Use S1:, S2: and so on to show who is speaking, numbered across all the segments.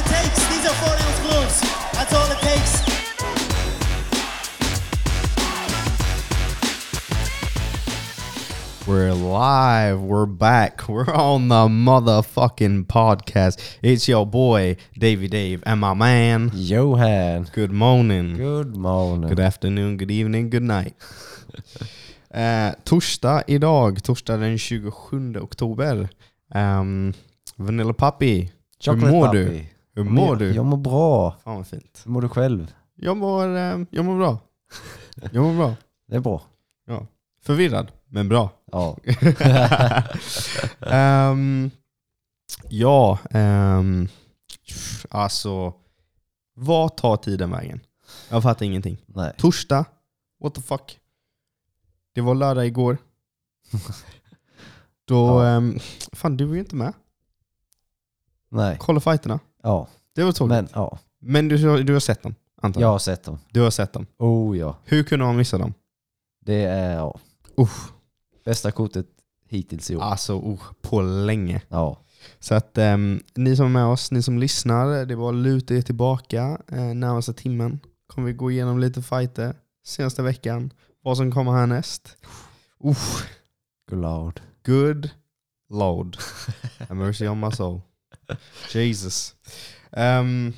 S1: these are 40 ounce balloons. That's all it takes.
S2: We're live. We're back. We're on the motherfucking podcast. It's your boy, Davy Dave, and my man.
S3: Johan.
S2: Good morning. Mm. Good,
S3: Good morning.
S2: afternoon, good evening, good night. eh, torsdag idag, torsdag den 27 oktober. Um, Vanilla Puppy,
S3: Chocolate
S2: hur mår
S3: puppy.
S2: du? hur mår du?
S3: Jag mår bra.
S2: Fan vad fint.
S3: Hur mår du själv?
S2: Jag mår, ehm, jag mår bra. Jag mår bra.
S3: Det är bra.
S2: Ja. Förvirrad, men bra.
S3: Ja.
S2: Ehm, ja, um, alltså. Vad tar tiden vägen? Jag fattar ingenting.
S3: Nej.
S2: Torsdag, what the fuck? Det var lördag igår. Då,
S3: Ja.
S2: ehm, fan du var ju inte med.
S3: Nej.
S2: Kolla fighterna.
S3: Ja.
S2: Det var tråkigt. Men,
S3: Men ja.
S2: du, du har sett dem, antar
S3: Jag
S2: jag?
S3: har sett dem.
S2: Du har sett dem.
S3: Oh ja.
S2: Hur kunde man missa dem?
S3: Det är ja.
S2: Usch,
S3: bästa kortet hittills i år.
S2: alltså usch, på länge.
S3: Ja.
S2: Så att ehm, ni som är med oss, ni som lyssnar, det var luta er tillbaka eh, närmaste timmen. Kommer vi gå igenom lite fighter senaste veckan, vad som kommer härnäst. Uff,
S3: Glad.
S2: good load. Have mercy on my soul. Jesus. Ehm,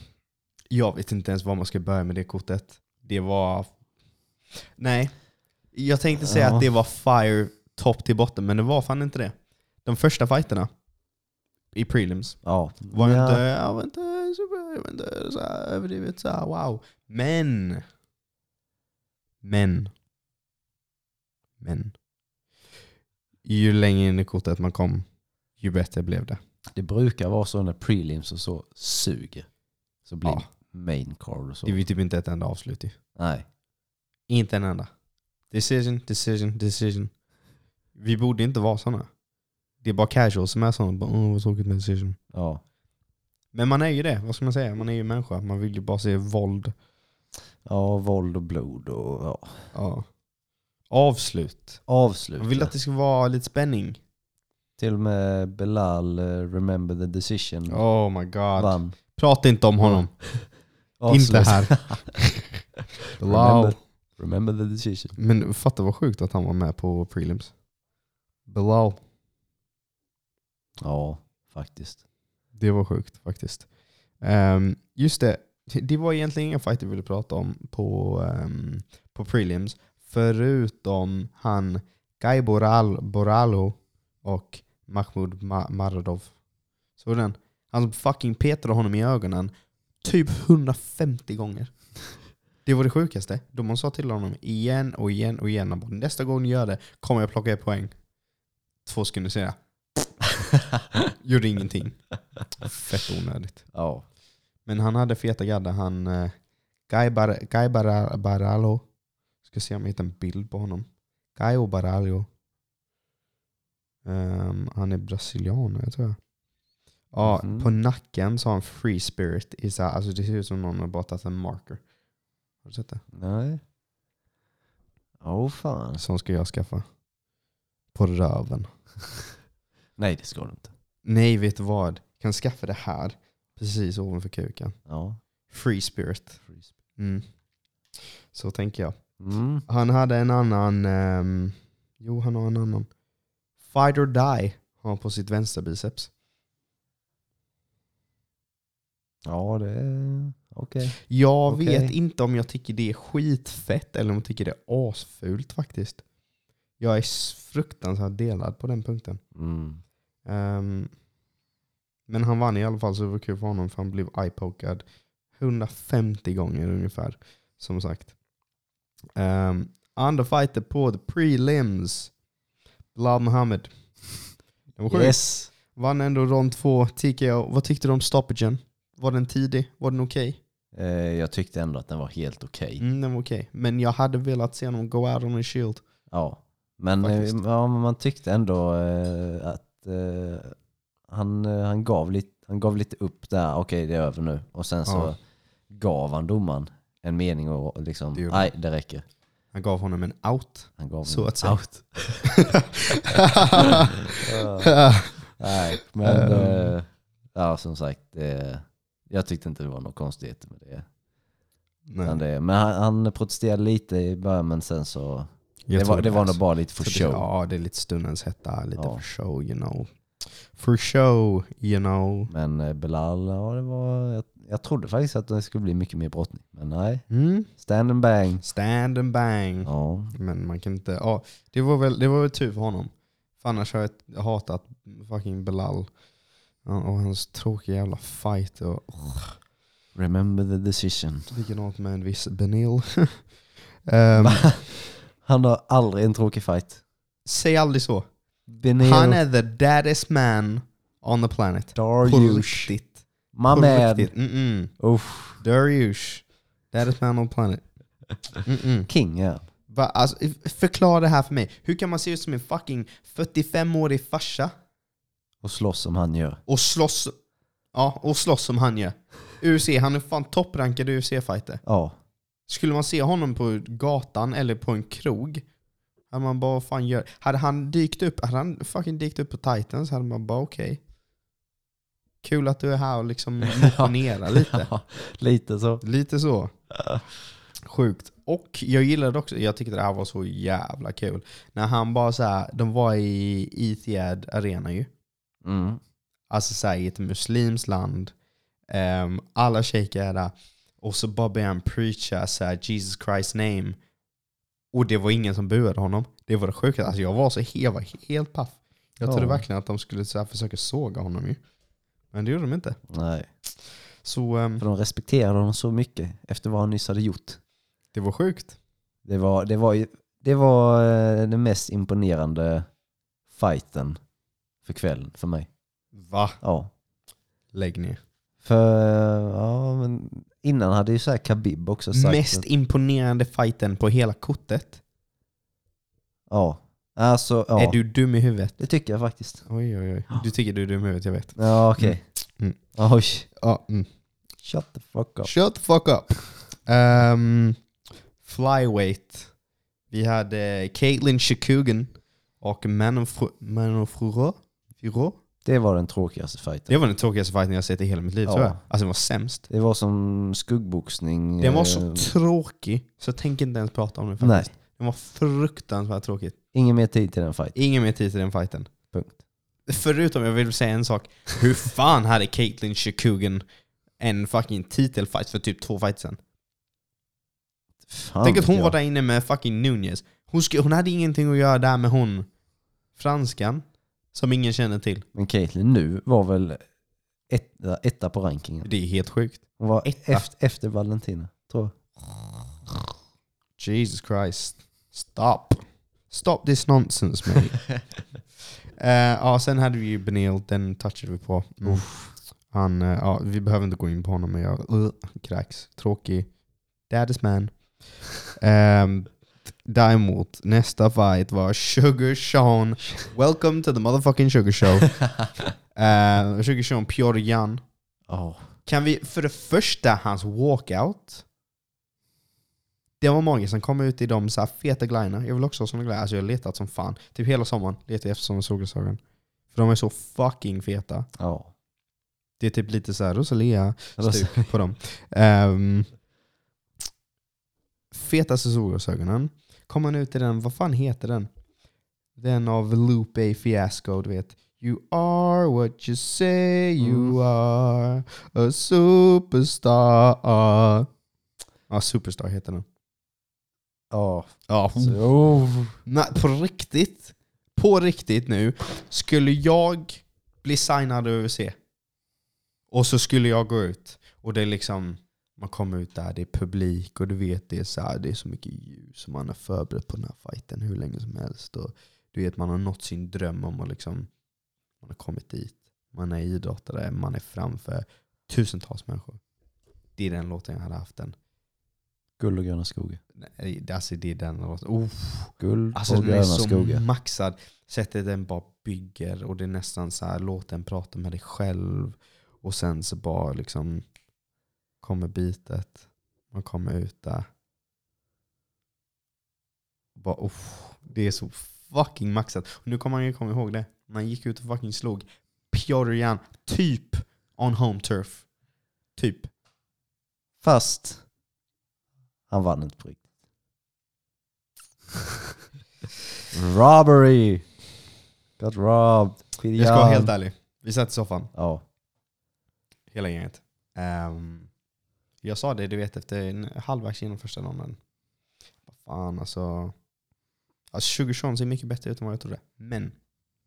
S2: jag vet inte ens var man ska börja med det kortet. Det var... Nej. Jag tänkte säga
S3: Ja.
S2: att det var fire topp till botten, men det var fan inte det. De första fighterna i prelims
S3: Ja.
S2: var
S3: ja.
S2: inte, jag var inte, super, jag var inte så här överdrivet så här, wow. Men. Men. Men. Ju längre in i kortet man kom, ju bättre blev det.
S3: Det brukar vara så när prelims och så suger. Så blir
S2: Ja.
S3: main card och så.
S2: Det var ju typ inte ett enda avslut ju.
S3: Nej.
S2: Inte en enda. Decision, decision, decision. Vi borde inte vara sådana. Det är bara casual som är sådana. Bara, Åh, vad tråkigt med decision.
S3: Ja.
S2: Men man är ju det, vad ska man säga? Man är ju människa. Man vill ju bara se våld.
S3: Ja, våld och blod och ja.
S2: Ja. Avslut.
S3: avslut.
S2: Man vill att det ska vara lite spänning.
S3: Till och med Belal, eh, remember the decision,
S2: Oh my god.
S3: vann.
S2: Prata inte om honom. Inte
S3: Avslut.
S2: här. Bilal.
S3: Remember, remember the decision.
S2: Men fatta vad sjukt att han var med på prelims. Bilal.
S3: Ja, faktiskt.
S2: Det var sjukt faktiskt. Ehm, just det, det var egentligen ingen fight vi ville prata om på, ehm, på prelims. Förutom han Guy Boral, Boralo och Mahmoud Ma- Maradov. Såg du den? Han som fucking petade honom i ögonen typ 150 gånger. Det var det sjukaste. De sa till honom igen och igen och igen. Han bara, Nästa gång ni gör det kommer jag plocka er poäng. Två sekunder senare. Gjorde ingenting. Fett onödigt.
S3: Ja,
S2: Men han hade feta gaddar. Han, eh, Guy, Bar Guy Bara- Baralo. Ska se om jag hittar en bild på honom. Guy Baralho. Ehm, han är brasilianer tror jag. Ja,
S3: Mhm.
S2: På nacken så har han free spirit. I så här, alltså det ser ut som någon har bara tagit en marker. Har du sett det?
S3: nej. Åh fan.
S2: Sån ska jag skaffa. På röven.
S3: Nej, det ska du inte.
S2: Nej, vet du vad? Jag kan skaffa det här. Precis ovanför kuken.
S3: Ja.
S2: Free spirit. Mm. Så tänker jag.
S3: Mm.
S2: Han hade en annan... ehm, jo, han har en annan. Fight or die har han på sitt vänsterbiceps.
S3: Ja, det är... Okej.
S2: Jag
S3: Okej.
S2: vet inte om jag tycker det är skitfett eller om jag tycker det är asfult faktiskt. Jag är s- fruktansvärt delad på den punkten.
S3: Mm.
S2: Ehm, men han vann i alla fall så det var kul för honom för han blev eye-pokad 150 gånger ungefär. Som sagt. Um, andra fighter på the prelims. Bilal Muhammad. Det var sjukt.
S3: Yes.
S2: Vann ändå rond två TKO. Vad tyckte du om stoppagen? Var den tidig? Var den okej?
S3: Eh, jag tyckte ändå att den var helt okej.
S2: Mm, den var okej. Men jag hade velat se honom go out on a shield.
S3: Ja. Men eh,
S2: Faktiskt.
S3: ja, men man tyckte ändå eh, att eh, han, eh, han, gav lite, han gav lite upp där. Okej, det är över nu. Och sen så
S2: Ja.
S3: gav han domaren en mening och liksom,
S2: Det gjorde
S3: nej det räcker.
S2: Han gav honom en out.
S3: Han gav
S2: Så
S3: en
S2: att säga.
S3: out. Nej, men
S2: Ehm.
S3: eh, ja, som sagt. Eh, Jag tyckte inte det var något konstigt med det.
S2: Nej,
S3: Men, det, men han, han protesterade lite i början men sen så...
S2: jag
S3: det var,
S2: tror
S3: det var
S2: är
S3: nog
S2: så.
S3: bara lite för
S2: Så det-
S3: show.
S2: Ja, det är lite stundens hetta. Lite
S3: Ja.
S2: för show, you know. For show, you know.
S3: Men eh, Belal, ja det var... Jag, jag trodde faktiskt att det skulle bli mycket mer brottning. Men nej.
S2: Mm.
S3: Stand and bang.
S2: Stand and bang.
S3: Ja.
S2: Men man kan inte... Ja, det var väl, det var väl tur för honom. För annars har jag hatat fucking Belal. Ja, Och hans tråkiga jävla fight. Och,
S3: Remember the decision.
S2: likadant med en viss Benil. Ehm,
S3: Han har aldrig en tråkig fight.
S2: säg aldrig så.
S3: Benil,
S2: Han är the daddest man on the planet. På
S3: Darius,
S2: riktigt. På
S3: Mamed,
S2: riktigt. Mm-mm.
S3: uff,
S2: Darius. Daddest man on the planet. Mm-mm.
S3: king ja.
S2: Va, alltså, förklara det här för mig. Hur kan man se ut som en fucking 45-årig farsa
S3: Och slåss som han gör.
S2: och slåss, ja, och slåss som han gör. UFC, han är fan topprankad UFC-fighter.
S3: Ja.
S2: Skulle man se honom på gatan eller på en krog, hade man bara vad fan gör... Hade han dykt upp, hade han fucking dykt upp på Titans hade man bara okej. Kul att du är här och liksom motionerar lite.
S3: Lite så.
S2: Lite så. Sjukt. Och jag gillade också, jag tyckte det här var så jävla kul. När han bara såhär, de var i Etihad Arena ju.
S3: Mm.
S2: Alltså så här, i ett muslims land. Ehm, alla shejker är där. Och så bara började han preacha så här, Jesus Christ name. Och det var ingen som buade honom. Det var det sjukaste. Alltså jag var så jag var helt paff. Jag trodde
S3: Ja.
S2: verkligen att de skulle så här, försöka såga honom ju. Men det gjorde de inte.
S3: Nej.
S2: Så ehm,
S3: För de respekterade honom så mycket efter vad han nyss hade gjort.
S2: det var sjukt.
S3: Det var, det var, ju- det var eh, den mest imponerande fighten för kvällen för mig.
S2: Va?
S3: Ja.
S2: Lägg ner.
S3: För eh, ja, men innan hade ju så här Khabib också sagt.
S2: Mest
S3: att-
S2: imponerande fighten på hela kortet.
S3: Ja. Alltså,
S2: Är
S3: ja.
S2: du dum i huvudet?
S3: Det tycker jag faktiskt.
S2: Oj oj oj. Du tycker du är dum i huvudet, jag vet.
S3: Ja, okej.
S2: Mm.
S3: Oj.
S2: Ja, mm.
S3: Shut the fuck up.
S2: Shut the fuck up. Ehm, flyweight. Vi hade Caitlin Shakugan och Manon Fru- Manon Furo. Furo?
S3: Det var den tråkigaste fighten.
S2: Det var den tråkigaste fighten jag sett i hela mitt liv
S3: Ja.
S2: tror jag. Alltså den var sämst.
S3: Det var som skuggboxning.
S2: Den var
S3: eh,
S2: så tråkig så jag tänker inte ens prata om den faktiskt.
S3: Nej,
S2: Den var fruktansvärt tråkig.
S3: ingen mer tid till den fighten.
S2: Ingen mer tid till den fighten.
S3: Punkt.
S2: Förutom, jag vill säga en sak. Hur fan hade Caitlin Shakugan en fucking titelfight för typ två fighter sedan?
S3: Fan,
S2: Tänk att hon
S3: jag.
S2: var där inne med fucking Nunez. Hon, sk- hon hade ingenting att göra där med hon franskan som ingen känner till.
S3: Men Caitlyn nu var väl etta, etta på rankingen.
S2: Det är helt sjukt.
S3: Hon var
S2: Etta.
S3: efter, efter Valentina, tror jag.
S2: Jesus Christ. Stop. Stop this nonsense mate. Eh, ja, sen hade vi ju Benil, den touchade vi på. Mm. Han, eh, ja, vi behöver inte gå in på honom, men jag uh, kräks. Tråkig. Daddy's man. um, däremot, nästa fight var Sugar Sean. Welcome to the motherfucking Sugar Show. Eh, Sugar Sean Pyongyang.
S3: Ja.
S2: Kan vi, för det första, hans walkout. Det var många som kom ut i de så här feta glajjorna. Jag vill också ha såna glajjor. Alltså jag har letat som fan. Typ hela sommaren letar jag efter såna solglasögon. För de är så fucking feta.
S3: Ja.
S2: Det är typ lite så här Rosalia-stuk
S3: Rosalia.
S2: på dem. Ehm, fetaste solglasögonen. Kom han ut i den, vad fan heter den? Den av Lupe Fiasco, du vet. You are what you say you are, a superstar. Ja, Superstar heter den.
S3: Ja.
S2: Ja,
S3: Så, oh.
S2: Nej, på riktigt. På riktigt nu. Skulle jag bli signad av UFC och så skulle jag gå ut och det är liksom man kommer ut där, det är publik och du vet det är så här, det är så mycket ljus och man har förberett på den här fighten hur länge som helst. Och du vet man har nått sin dröm om att liksom, man har kommit dit. Man är idrottare, man är framför tusentals människor. Det är den låten jag hade haft den.
S3: Guld och gröna skogar.
S2: Nej, det- Alltså det är den låten. Oh,
S3: Guld
S2: Alltså
S3: och
S2: den är
S3: gröna
S2: så
S3: skogar.
S2: maxad. Sättet den bara bygger och det är nästan så här, låt den prata med dig själv. Och sen så bara liksom kommer bitet. Man kommer ut där. Bara, oh, det är så fucking maxat. Och nu kommer man ju komma ihåg det. Man gick ut och fucking slog Pyotr Jan typ on home turf. Typ.
S3: Fast han vann inte på riktigt. Robbery! Got robbed.
S2: Jag ska vara helt ärlig. Vi satt i soffan,
S3: Ja.
S2: hela gänget. Ehm, jag sa det, du vet, efter en halvvägs genom första ronden. Vad fan alltså. Alltså 2020 ser mycket bättre ut än vad jag trodde. Men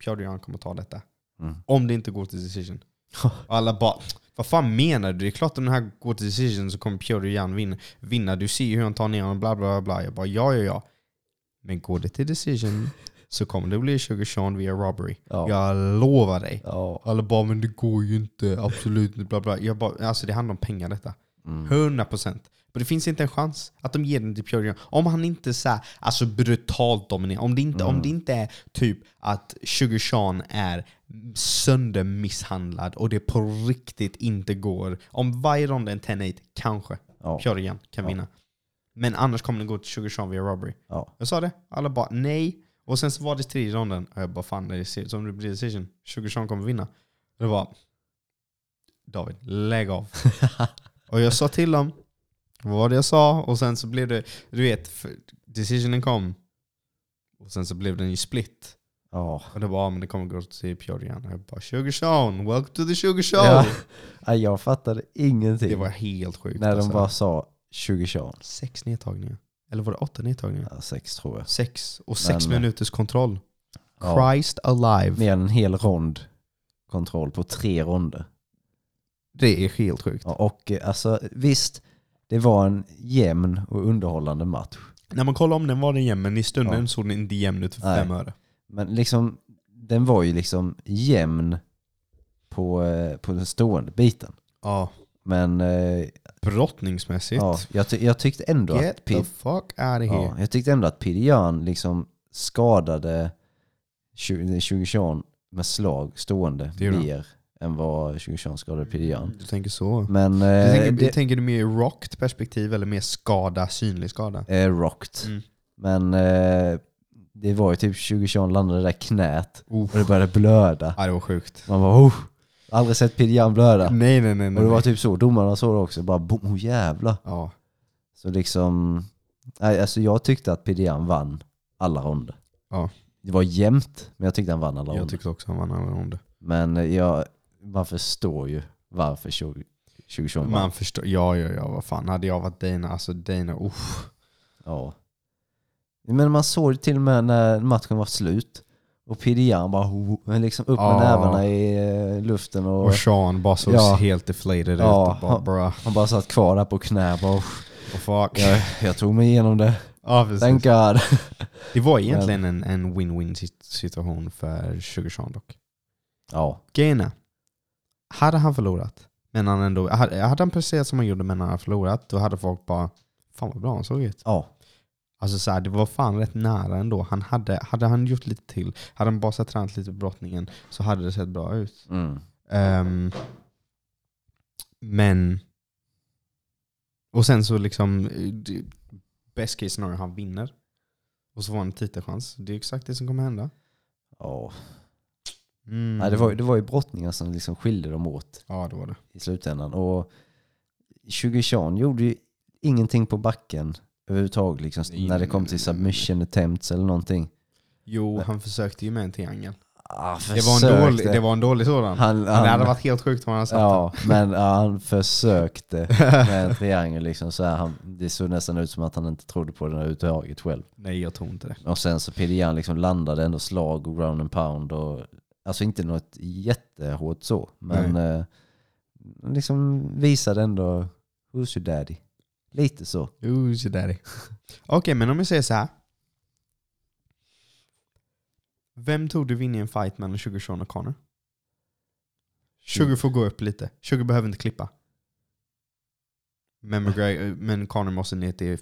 S2: Piotr Jan kommer ta detta.
S3: Mm.
S2: Om det inte går till decision. Och alla bara, vad fan menar du? Det är klart om den här går till decision så kommer Piotr Jan vinna. vinna. Du ser ju hur han tar ner honom, bla bla bla. Jag bara, ja ja ja. Men går det till decision så kommer det bli 2020 via robbery.
S3: Ja.
S2: Jag lovar dig.
S3: ja.
S2: Alla bara, men det går ju inte, absolut inte, bla bla. Jag bara, alltså det handlar om pengar detta.
S3: Mm.
S2: 100%. Men det finns inte en chans att de ger den till Pyongyang. Om han inte så här, alltså brutalt dominerar. Om det inte,
S3: Mm.
S2: om det inte är typ att Sugar Sean är söndermisshandlad och det på riktigt inte går. Om varje rond är en 10-8, kanske
S3: Ja.
S2: Pyongyang kan vinna. Men annars kommer det gå till Sugar Sean via robbery.
S3: ja.
S2: Jag sa det. Alla bara nej. Och sen så var det tredje ronden. Och jag bara fan det ser ut som det blir decision. 20 kommer vinna. Och det var David, lägg av. och jag sa till dem vad var det jag sa. Och sen så blev det, du vet, för- decisionen kom. Och sen så blev den ju split.
S3: ja.
S2: Och det var, ja, men det kommer gå till Pyongyang. Och jag bara 20 welcome to the 20
S3: Ja. Nej, Jag fattade ingenting
S2: Det var helt sjukt.
S3: när de
S2: alltså.
S3: bara sa 20 Sean.
S2: Sex nedtagningar. Eller var det åtta nedtagningar?
S3: Ja, sex tror jag.
S2: Sex. Och sex
S3: Men-
S2: minuters kontroll.
S3: Ja.
S2: Christ alive.
S3: Mer än en hel rond kontroll på tre ronder.
S2: Det är helt sjukt.
S3: Ja, och eh, alltså visst, det var en jämn och underhållande match.
S2: När man kollar om den var den jämn, men i stunden
S3: Ja.
S2: såg den inte jämn ut för
S3: Nej.
S2: fem öre.
S3: Men liksom, den var ju liksom jämn på, eh, på den stående biten.
S2: Ja.
S3: Men eh,
S2: Brottningsmässigt.
S3: ja, jag, ty- jag tyckte ändå att
S2: Get the
S3: Pid,
S2: fuck out of here.
S3: ja, jag tyckte ändå att Pidjan liksom skadade 20 20 Sean med slag stående
S2: Det gjorde han.
S3: mer än vad 20 Sean skadade Pidjan.
S2: Du tänker så.
S3: Men
S2: Du
S3: eh,
S2: tänker,
S3: det,
S2: tänker du mer rockt perspektiv eller mer skada, synlig skada?
S3: eh, rocked.
S2: Mm.
S3: Men eh, det var ju typ 20 Sean landade där knät
S2: Uff.
S3: och det började blöda.
S2: Ja, det var sjukt.
S3: Man bara oh, aldrig sett Pidjan blöda.
S2: Nej, nej, nej.
S3: Och
S2: nej.
S3: det var
S2: nej.
S3: typ så, domarna såg det också, bara boom, oh, jävla.
S2: Ja.
S3: Så liksom, nej, alltså jag tyckte att Pidjan vann alla ronder.
S2: Ja.
S3: Det var jämnt, men jag tyckte han vann alla
S2: Jag
S3: ronder.
S2: tyckte också han vann alla ronder.
S3: Men eh, jag, man förstår ju varför 20 20 vann.
S2: Man förstår. Ja, ja, ja. Vad fan. Hade jag varit Dana, alltså Dana, uff.
S3: Ja. Men man såg det till och med när matchen var slut. Och Pidjan bara ho, men liksom upp med
S2: Ja.
S3: nävarna i eh, luften och,
S2: Och Sean bara såg
S3: Ja.
S2: helt deflated
S3: Ja.
S2: ut. Och bara, bruh.
S3: han bara satt kvar där på knä och bara, oh,
S2: Och fuck.
S3: jag, jag tog mig igenom det.
S2: Ja, precis.
S3: Thank God.
S2: Det var egentligen en, en win-win sit- situation för Sugar dock.
S3: Ja,
S2: Grejen är, hade han förlorat, men han ändå, hade hade han presterat som han gjorde men han hade förlorat, då hade folk bara Fan vad bra han såg ut.
S3: ja,
S2: Alltså så här, det var fan rätt nära ändå. Han hade, hade han gjort lite till, hade han bara sett tränat lite på brottningen så hade det sett bra ut.
S3: mm.
S2: Ehm, men... Och sen så liksom... eh, det- Best case scenario, han vinner. Och så får han en titelchans. Det är exakt det som kommer hända.
S3: ja.
S2: Mm.
S3: Nej, det, var, ju- det var ju brottningar som liksom skilde dem åt
S2: Ja, det var det.
S3: i slutändan. Och 20 Sean gjorde ju ingenting på backen överhuvudtaget liksom,
S2: Nej,
S3: när det
S2: nej,
S3: kom
S2: nej,
S3: till
S2: nej, nej.
S3: submission attempts eller någonting.
S2: Jo, han försökte ju med en triangel.
S3: Ah,
S2: Det var, en dålig, det var en dålig sådan.
S3: Han,
S2: Men det hade
S3: han-
S2: varit helt sjukt om han hade satt
S3: Ja, men ja, han försökte med en triangel. Liksom, så här, han, det såg nästan ut som att han inte trodde på den överhuvudtaget själv.
S2: den. Nej, jag tror inte det.
S3: Och sen så Pidjan liksom landade ändå slag och ground and pound. Och, alltså inte något jättehårt så, men eh, han liksom visade ändå who's your daddy. Lite så.
S2: Ooh, så där. Okej, men om vi säger så här. Vem tog du vinner i en fight mellan Sugar Sean och Connor? Sugar får gå upp lite. Sugar behöver inte klippa. Men, McGregor, men Connor måste ner till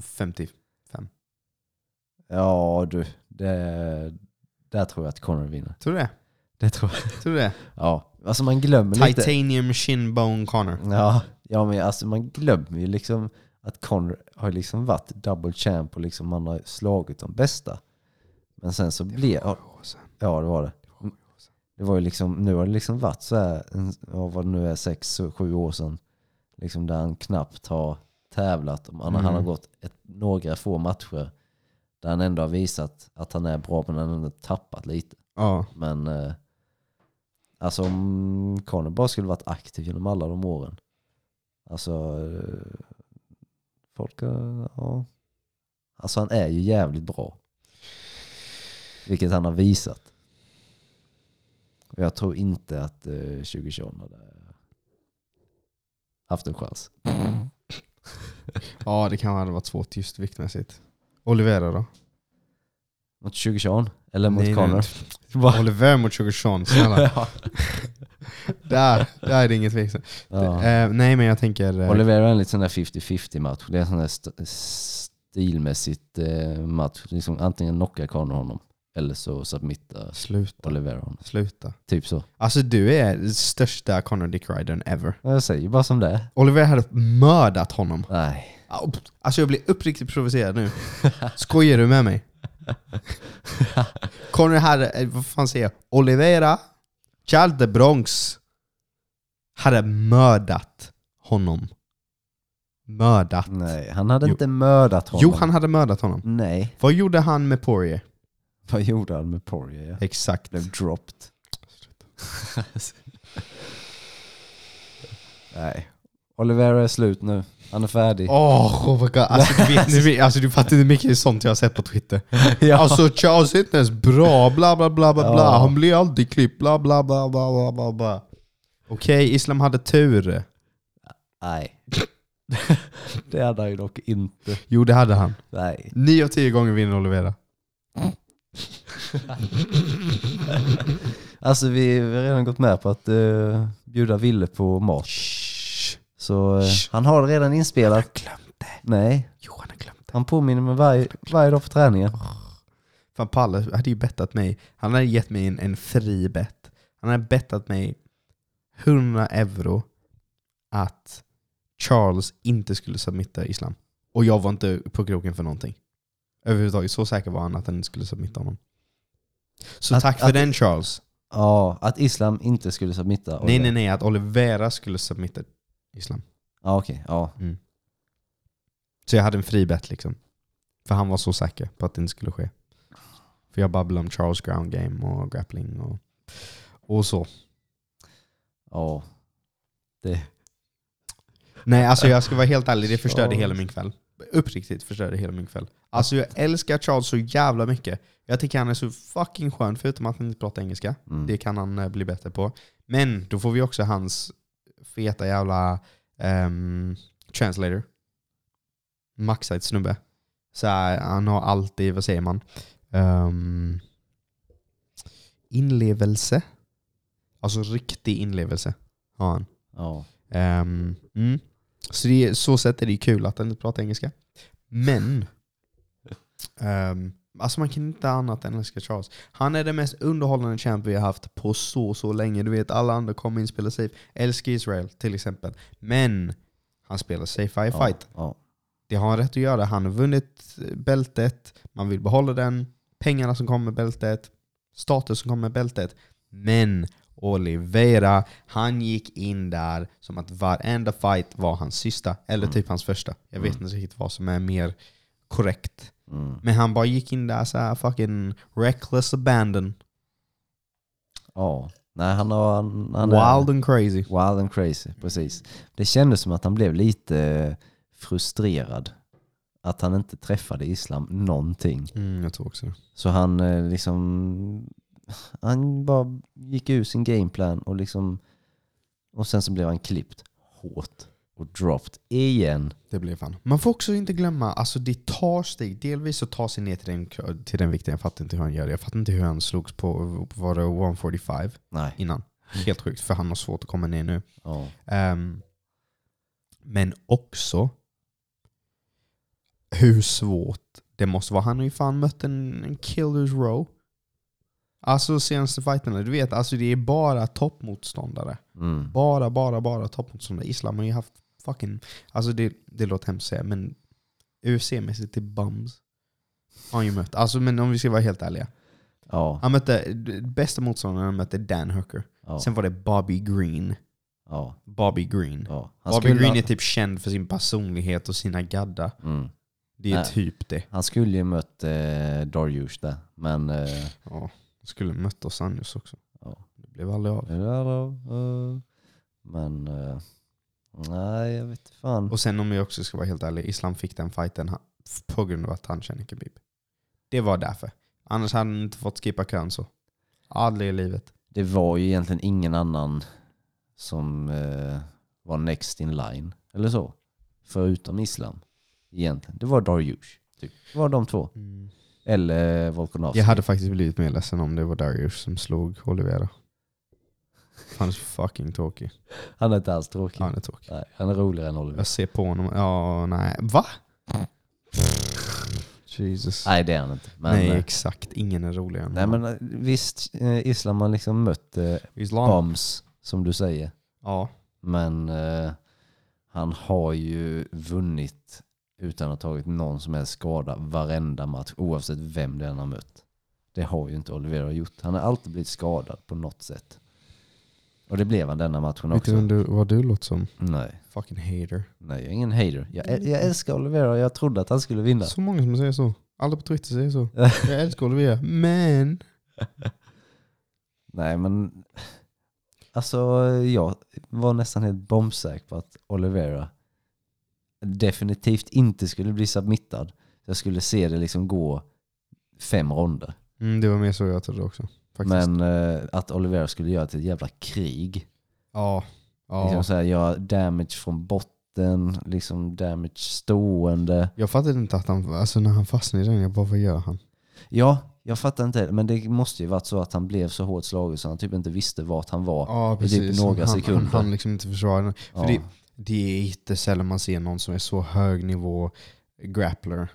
S2: 50.
S3: Ja du, det, där tror jag att Connor vinner.
S2: Tror du det?
S3: Det tror jag.
S2: Tror du det?
S3: Ja, alltså man glömmer lite.
S2: Titanium shin bone Connor.
S3: Ja, ja men alltså man glömmer ju liksom att Conor har liksom varit double champ och liksom han har slagit de bästa. Men sen så blev... Ja, ja, det var det. Det var ju liksom, nu har det liksom varit så här, en- ja, vad det nu är, sex, sju år sedan. liksom där han knappt har tävlat. Om han, han har
S2: Mm.
S3: gått ett, några få matcher där han ändå har visat att han är bra men han har ändå tappat lite.
S2: Ja,
S3: Men eh, alltså om Conor bara skulle varit aktiv genom alla de åren. Alltså eh, folk, eh, ja. Alltså han är ju jävligt bra. Vilket han har visat. Och jag tror inte att eh, 2021 hade haft en chans.
S2: ja det kan ha varit svårt just viktmässigt. Olivera då?
S3: Mot 2021? Eller mot
S2: Nej,
S3: Conor?
S2: nej. Oliver mot Sugarsson, snälla.
S3: Ja.
S2: där, där är det inget tveksamt.
S3: Ja.
S2: Eh, nej men jag tänker... eh,
S3: Oliveira är en lite sån där 50-50 match. Det är en sån där st- stilmässigt eh, match. Liksom antingen knockar Conor honom eller så submittar
S2: Sluta.
S3: Oliveira honom.
S2: Sluta.
S3: Typ så.
S2: Alltså du är den största Conor Dick Ridern ever.
S3: Ja, Jag säger bara som det är.
S2: Oliver hade mördat honom.
S3: Nej.
S2: Au. Alltså jag blir uppriktigt provocerad nu. Skojar du med mig? Conor hade, eh, vad fan säger jag? Olivera, Charles de Bronx hade mördat honom. Mördat.
S3: Nej, han hade
S2: Jo.
S3: inte mördat honom.
S2: Jo, han hade mördat honom.
S3: Nej.
S2: Vad gjorde han med Poirier?
S3: Vad gjorde han med Poirier? Ja.
S2: Exakt.
S3: Blev dropped. Nej. Oliveira är slut nu. Han är färdig.
S2: Åh, oh, my God. Alltså, du vet, du, vet, alltså, du fattar inte hur mycket sånt jag har sett på Twitter.
S3: Ja.
S2: Alltså Charles är inte ens bra, bla bla bla bla bla.
S3: Ja.
S2: Han blir alltid klippt, bla bla bla bla bla bla bla. Okej, Islam hade tur.
S3: Nej. det hade han ju dock inte.
S2: Jo det hade han.
S3: Nej.
S2: Nio av tio gånger vinner Olivera.
S3: Alltså vi vi har redan gått med på att eh, bjuda Ville på mat. Så eh,
S2: Shh.
S3: han har det redan inspelat.
S2: Glöm det.
S3: Nej,
S2: Johan har glömt det.
S3: han påminner mig varje, varje dag på träningen.
S2: Fan Palle hade ju bettat mig. Han hade gett mig en, en fri bet. Han hade bettat mig 100 euro att Charles inte skulle submitta Islam. Och jag var inte på kroken för någonting. Överhuvudtaget. Så säker var han att han inte skulle submitta honom. Så
S3: Att-
S2: tack för
S3: att-
S2: den Charles.
S3: Ja, att Islam inte skulle submitta.
S2: Nej nej nej, att Olivera skulle submitta Islam.
S3: Ja, okej. Ja.
S2: Så jag hade en fri bet liksom. För han var så säker på att det inte skulle ske. För jag babblade om Charles ground game och grappling och, och så.
S3: ja.
S2: Nej, alltså jag ska vara helt ärlig, det förstörde
S3: Charles.
S2: hela min kväll. Uppriktigt förstörde hela min kväll. Alltså jag älskar Charles så jävla mycket. Jag tycker han är så fucking skön, förutom att han inte pratar engelska.
S3: Mm.
S2: Det kan han eh, bli bättre på. Men då får vi också hans feta jävla ehm, translator. Maxad snubbe. Så här, han har alltid, vad säger man? Ehm, inlevelse. Alltså riktig inlevelse har han.
S3: Ja.
S2: Ehm, mm. Så det, så sätt är det ju kul att han inte pratar engelska. Men, ehm, alltså man kan inte annat än älska Charles. Han är den mest underhållande champ vi har haft på så, så länge. Du vet, alla andra kommer in och spelar safe. Älskar Israel till exempel. Men, han spelar safe varje
S3: ja,
S2: fight.
S3: Ja.
S2: Det har han rätt att göra. Han har vunnit eh, bältet, man vill behålla den, pengarna som kommer med bältet, status som kommer med bältet. Men Oliveira, han gick in där som att varenda fight var hans sista, eller
S3: Mm.
S2: typ hans första. Jag vet
S3: Mm.
S2: inte riktigt vad som är mer korrekt.
S3: Mm.
S2: Men han bara gick in där så här fucking reckless abandon.
S3: ja. Nej, han har... Han, han är,
S2: Wild and crazy.
S3: Wild and crazy, precis. Det kändes som att han blev lite frustrerad. Att han inte träffade Islam någonting.
S2: Mm, jag tror också det.
S3: Så han eh, liksom... Han bara gick ur sin gameplan och liksom... Och sen så blev han klippt hårt och dropped igen.
S2: Det blir fan. Man får också inte glömma, alltså det tar steg. Delvis så tar sig ner till den, till den vikten. Jag fattar inte hur han gör det. Jag fattar inte hur han slogs på, var det 145
S3: Nej.
S2: innan? Helt sjukt, för han har svårt att komma ner nu.
S3: Ja.
S2: Ehm, men också hur svårt det måste vara. Han har ju fan mött en, en killers row. Alltså senaste fighterna, du vet, alltså det är bara toppmotståndare.
S3: Mm.
S2: Bara, bara, bara toppmotståndare. Islam har ju haft fucking... Alltså det, det låter hemskt att säga, men UFC-mässigt till bums har han ju mött. Alltså men om vi ska vara helt ärliga.
S3: Ja.
S2: Han mötte, d- bästa motståndaren han mötte Dan Hooker.
S3: Ja.
S2: Sen var det Bobby Green.
S3: Ja,
S2: Bobby Green.
S3: ja. Han
S2: Bobby
S3: skulle,
S2: Green är typ känd för sin personlighet och sina gadda.
S3: mm.
S2: Det är
S3: Nej.
S2: typ det.
S3: han skulle ju mött eh, Darius där, men... Eh,
S2: Ja. Skulle mött oss Anjos också.
S3: Ja.
S2: Det blev aldrig av.
S3: ja då, eh, men... Eh, nej, jag vet inte fan.
S2: Och sen om jag också ska vara helt ärlig, Islam fick den fighten han- på grund av att han känner Khabib. Det var därför. Annars hade han inte fått skippa kön så. Aldrig i livet.
S3: Det var ju egentligen ingen annan som eh, var next in line, eller så. Förutom Islam, egentligen. Det var Darius, typ. Det var de två. Eller Volkanovski.
S2: Jag hade faktiskt blivit mer ledsen om det var Darius som slog Olivera. Han är så fucking tråkig.
S3: Han är inte alls tråkig.
S2: Han är tråkig.
S3: Nej, han är roligare än Oliver.
S2: Jag ser på honom. Ja, nej. Va? Jesus.
S3: Nej, det är han inte. Men,
S2: nej,
S3: eh,
S2: exakt. Ingen är roligare än
S3: nej,
S2: honom.
S3: men eh, visst, eh, Islam har liksom mött eh,
S2: Islam.
S3: bombs, som du säger.
S2: Ja.
S3: Men eh, han har ju vunnit utan att ha tagit någon som helst skada varenda match, oavsett vem det är han har mött. Det har ju inte Olivera gjort. Han har alltid blivit skadad på något sätt. Och det blev han denna matchen
S2: Vet du,
S3: också.
S2: vem du vad du låter som?
S3: Nej,
S2: Fucking hater.
S3: nej, jag är ingen hater. Jag, äl- jag älskar Olivera och jag trodde att han skulle vinna.
S2: Så många som säger så. Alla på Twitter säger så. Jag älskar Olivia, men...
S3: Nej men, alltså jag var nästan helt bombsäker på att Olivera definitivt inte skulle bli submittad. Jag skulle se det liksom gå fem ronder.
S2: Mm, det var mer så jag trodde också. Faktiskt.
S3: Men eh, att Olivera skulle göra till ett jävla krig.
S2: Ja.
S3: Liksom
S2: ja.
S3: så här, göra damage från botten, liksom damage stående.
S2: Jag fattade inte att han, alltså när han fastnade i den, jag bara vad gör han?
S3: Ja, jag fattar inte heller, men det måste ju varit så att han blev så hårt slagen så han typ inte visste vart han var.
S2: Ja
S3: typ några
S2: han,
S3: sekunder.
S2: Han, han liksom inte försvara den. För
S3: Ja.
S2: det, det är inte sällan man ser någon som är så hög nivå grappler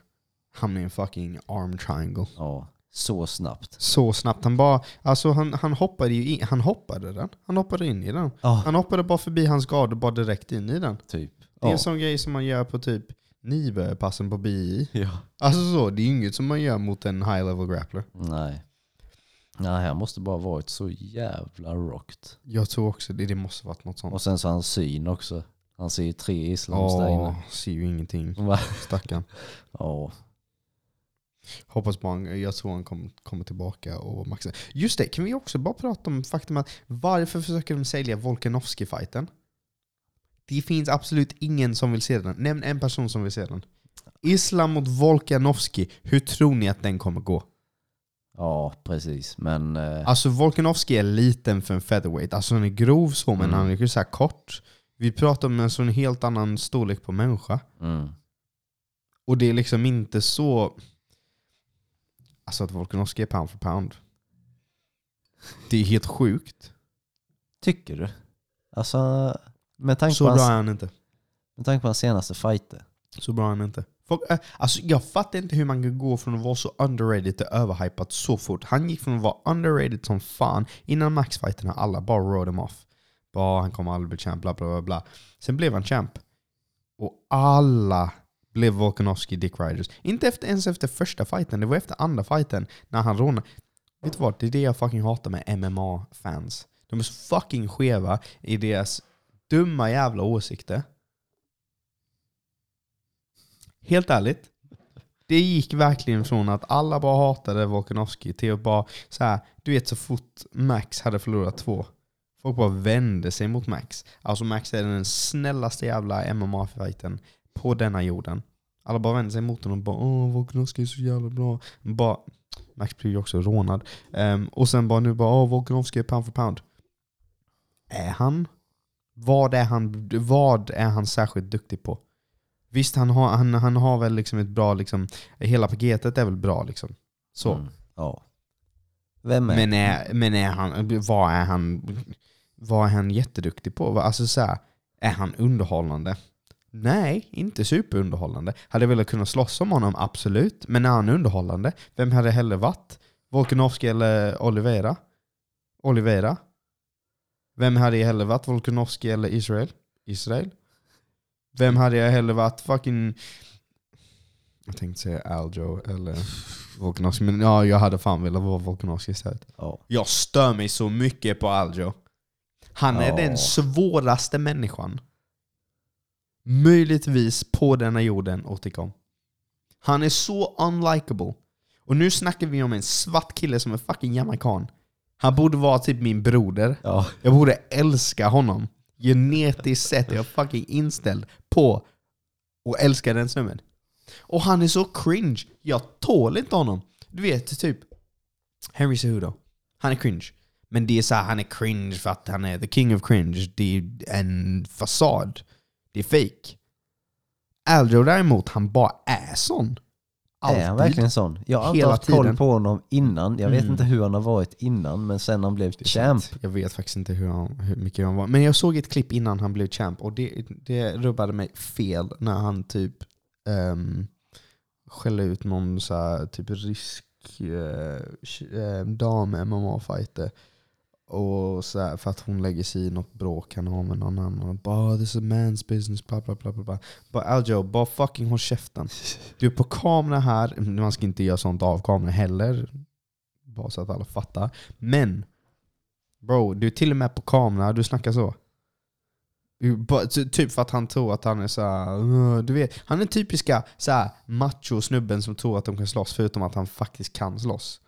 S2: hamna i en fucking arm triangle.
S3: ja, så snabbt.
S2: Så snabbt. Han bara, alltså han, han hoppade ju in, han hoppade den. Han hoppade in i den.
S3: Ja,
S2: Han hoppade bara förbi hans gard och bara direkt in i den.
S3: typ.
S2: Det är
S3: Ja.
S2: en sån grej som man gör på typ Nive-passen på BI.
S3: Ja.
S2: Alltså så, det är inget som man gör mot en high level grappler.
S3: Nej. Nej, han måste bara varit så jävla rockt.
S2: Jag tror också det, det måste varit något sånt.
S3: Och sen så hans syn också. Han ser ju tre islams där
S2: Åh,
S3: inne.
S2: ser ju ingenting.
S3: Va?
S2: Stackarn.
S3: Ja,
S2: Hoppas på han, jag tror han kom, kommer tillbaka och maxar. Just det, kan vi också bara prata om faktum att varför försöker de sälja Volkanovski-fighten? Det finns absolut ingen som vill se den. Nämn en person som vill se den. Islam mot Volkanovski, hur tror ni att den kommer gå?
S3: ja precis. Men eh,
S2: Alltså Volkanovski är liten för en featherweight. Alltså han är grov så, men
S3: Mm.
S2: han är ju så här kort. Vi pratar om en sån helt annan storlek på människa.
S3: mm,
S2: Och det är liksom inte så... Alltså att Volkanovski är pound for pound. Det är helt sjukt.
S3: tycker du? Alltså, med tanke,
S2: Så
S3: på
S2: bra är
S3: hans,
S2: han inte.
S3: med tanke på hans senaste fighter.
S2: Så bra är han inte. Folk, äh, alltså jag fattar inte hur man kan gå från att vara så underrated till överhypat så fort. Han gick från att vara underrated som fan innan maxfighterna. Alla bara rode him off. Bara han kommer aldrig bli champ, bla bla bla. bla. Sen blev han champ. Och alla blev Volkanovski Dick Riders. Inte efter, ens efter första fighten, det var efter andra fighten när han rånade. Vet du vad? Det är det jag fucking hatar med MMA-fans. De är så fucking skeva i deras dumma jävla åsikter. Helt ärligt. Det gick verkligen från att alla bara hatade Volkanovski till att bara så här, du vet så fort Max hade förlorat två, folk bara vände sig mot Max. Alltså Max är den snällaste jävla MMA-fighten på denna jorden. Alla bara vände sig mot honom och bara åh Volkanovski är så jävla bra. Bara, Max blir ju också rånad. Ehm, och sen bara nu bara åh Volkanovski är pound for pound. Är han? Vad är han, vad är han särskilt duktig på? Visst, han har, han, han har väl liksom ett bra, liksom, hela paketet är väl bra liksom. Så.
S3: Mm, ja. Vem är
S2: Men, är, men är han, vad är han, vad är han jätteduktig på? Vad- Alltså så här, är han underhållande? Nej, inte superunderhållande. Hade jag velat kunna slåss om honom, absolut. Men är han underhållande? Vem hade hellre varit? Volkanovski eller Olivera? Olivera? Vem hade jag hellre varit? Volkanovski eller Israel? Israel? Vem hade jag hellre varit? Fucking... Jag tänkte säga Aljo eller Volkanovski, men ja, jag hade fan velat vara Volkanovski istället.
S3: Ja.
S2: Jag stör mig så mycket på Aljo. Han är
S3: Ja.
S2: den svåraste människan möjligtvis på denna jorden att tycka om. Han är så unlikable. Och nu snackar vi om en svart kille som är fucking jamaican. Han borde vara typ min broder.
S3: Ja.
S2: Jag borde älska honom. Genetiskt sett är jag fucking inställd på och älska den snubben. Och han är så cringe. Jag tål inte honom. Du vet, typ Henry Cejudo. Han är cringe. Men det är så här, han är cringe för att han är the king of cringe. Det är en fasad. Det är fake. Aljo däremot, han bara är sån.
S3: Är han verkligen sån? Jag har inte
S2: Hela
S3: haft koll
S2: tiden.
S3: på honom innan. Jag vet
S2: Mm.
S3: inte hur han har varit innan, men sen han blev champ.
S2: Jag vet faktiskt inte hur, han, hur mycket han var. Men jag såg ett klipp innan han blev champ och det, det rubbade mig fel när han typ um, skällde ut någon så här, typ rysk eh, tj- eh, dam MMA-fighter. Och så här, för att hon lägger sig i något bråk han har med någon annan. Och bara oh, this is a man's business, bla bla bla. bla, bla. Bara Aljo, bara fucking håll käften. Du är på kamera här, man ska inte göra sånt av kamera heller. Bara så att alla fattar. Men Bro, du är till och med på kamera, du snackar så. Du bara- ty- Typ för att han tror att han är så här, "Åh", du vet. Han är typiska så här, macho-snubben som tror att de kan slåss förutom att han faktiskt kan slåss.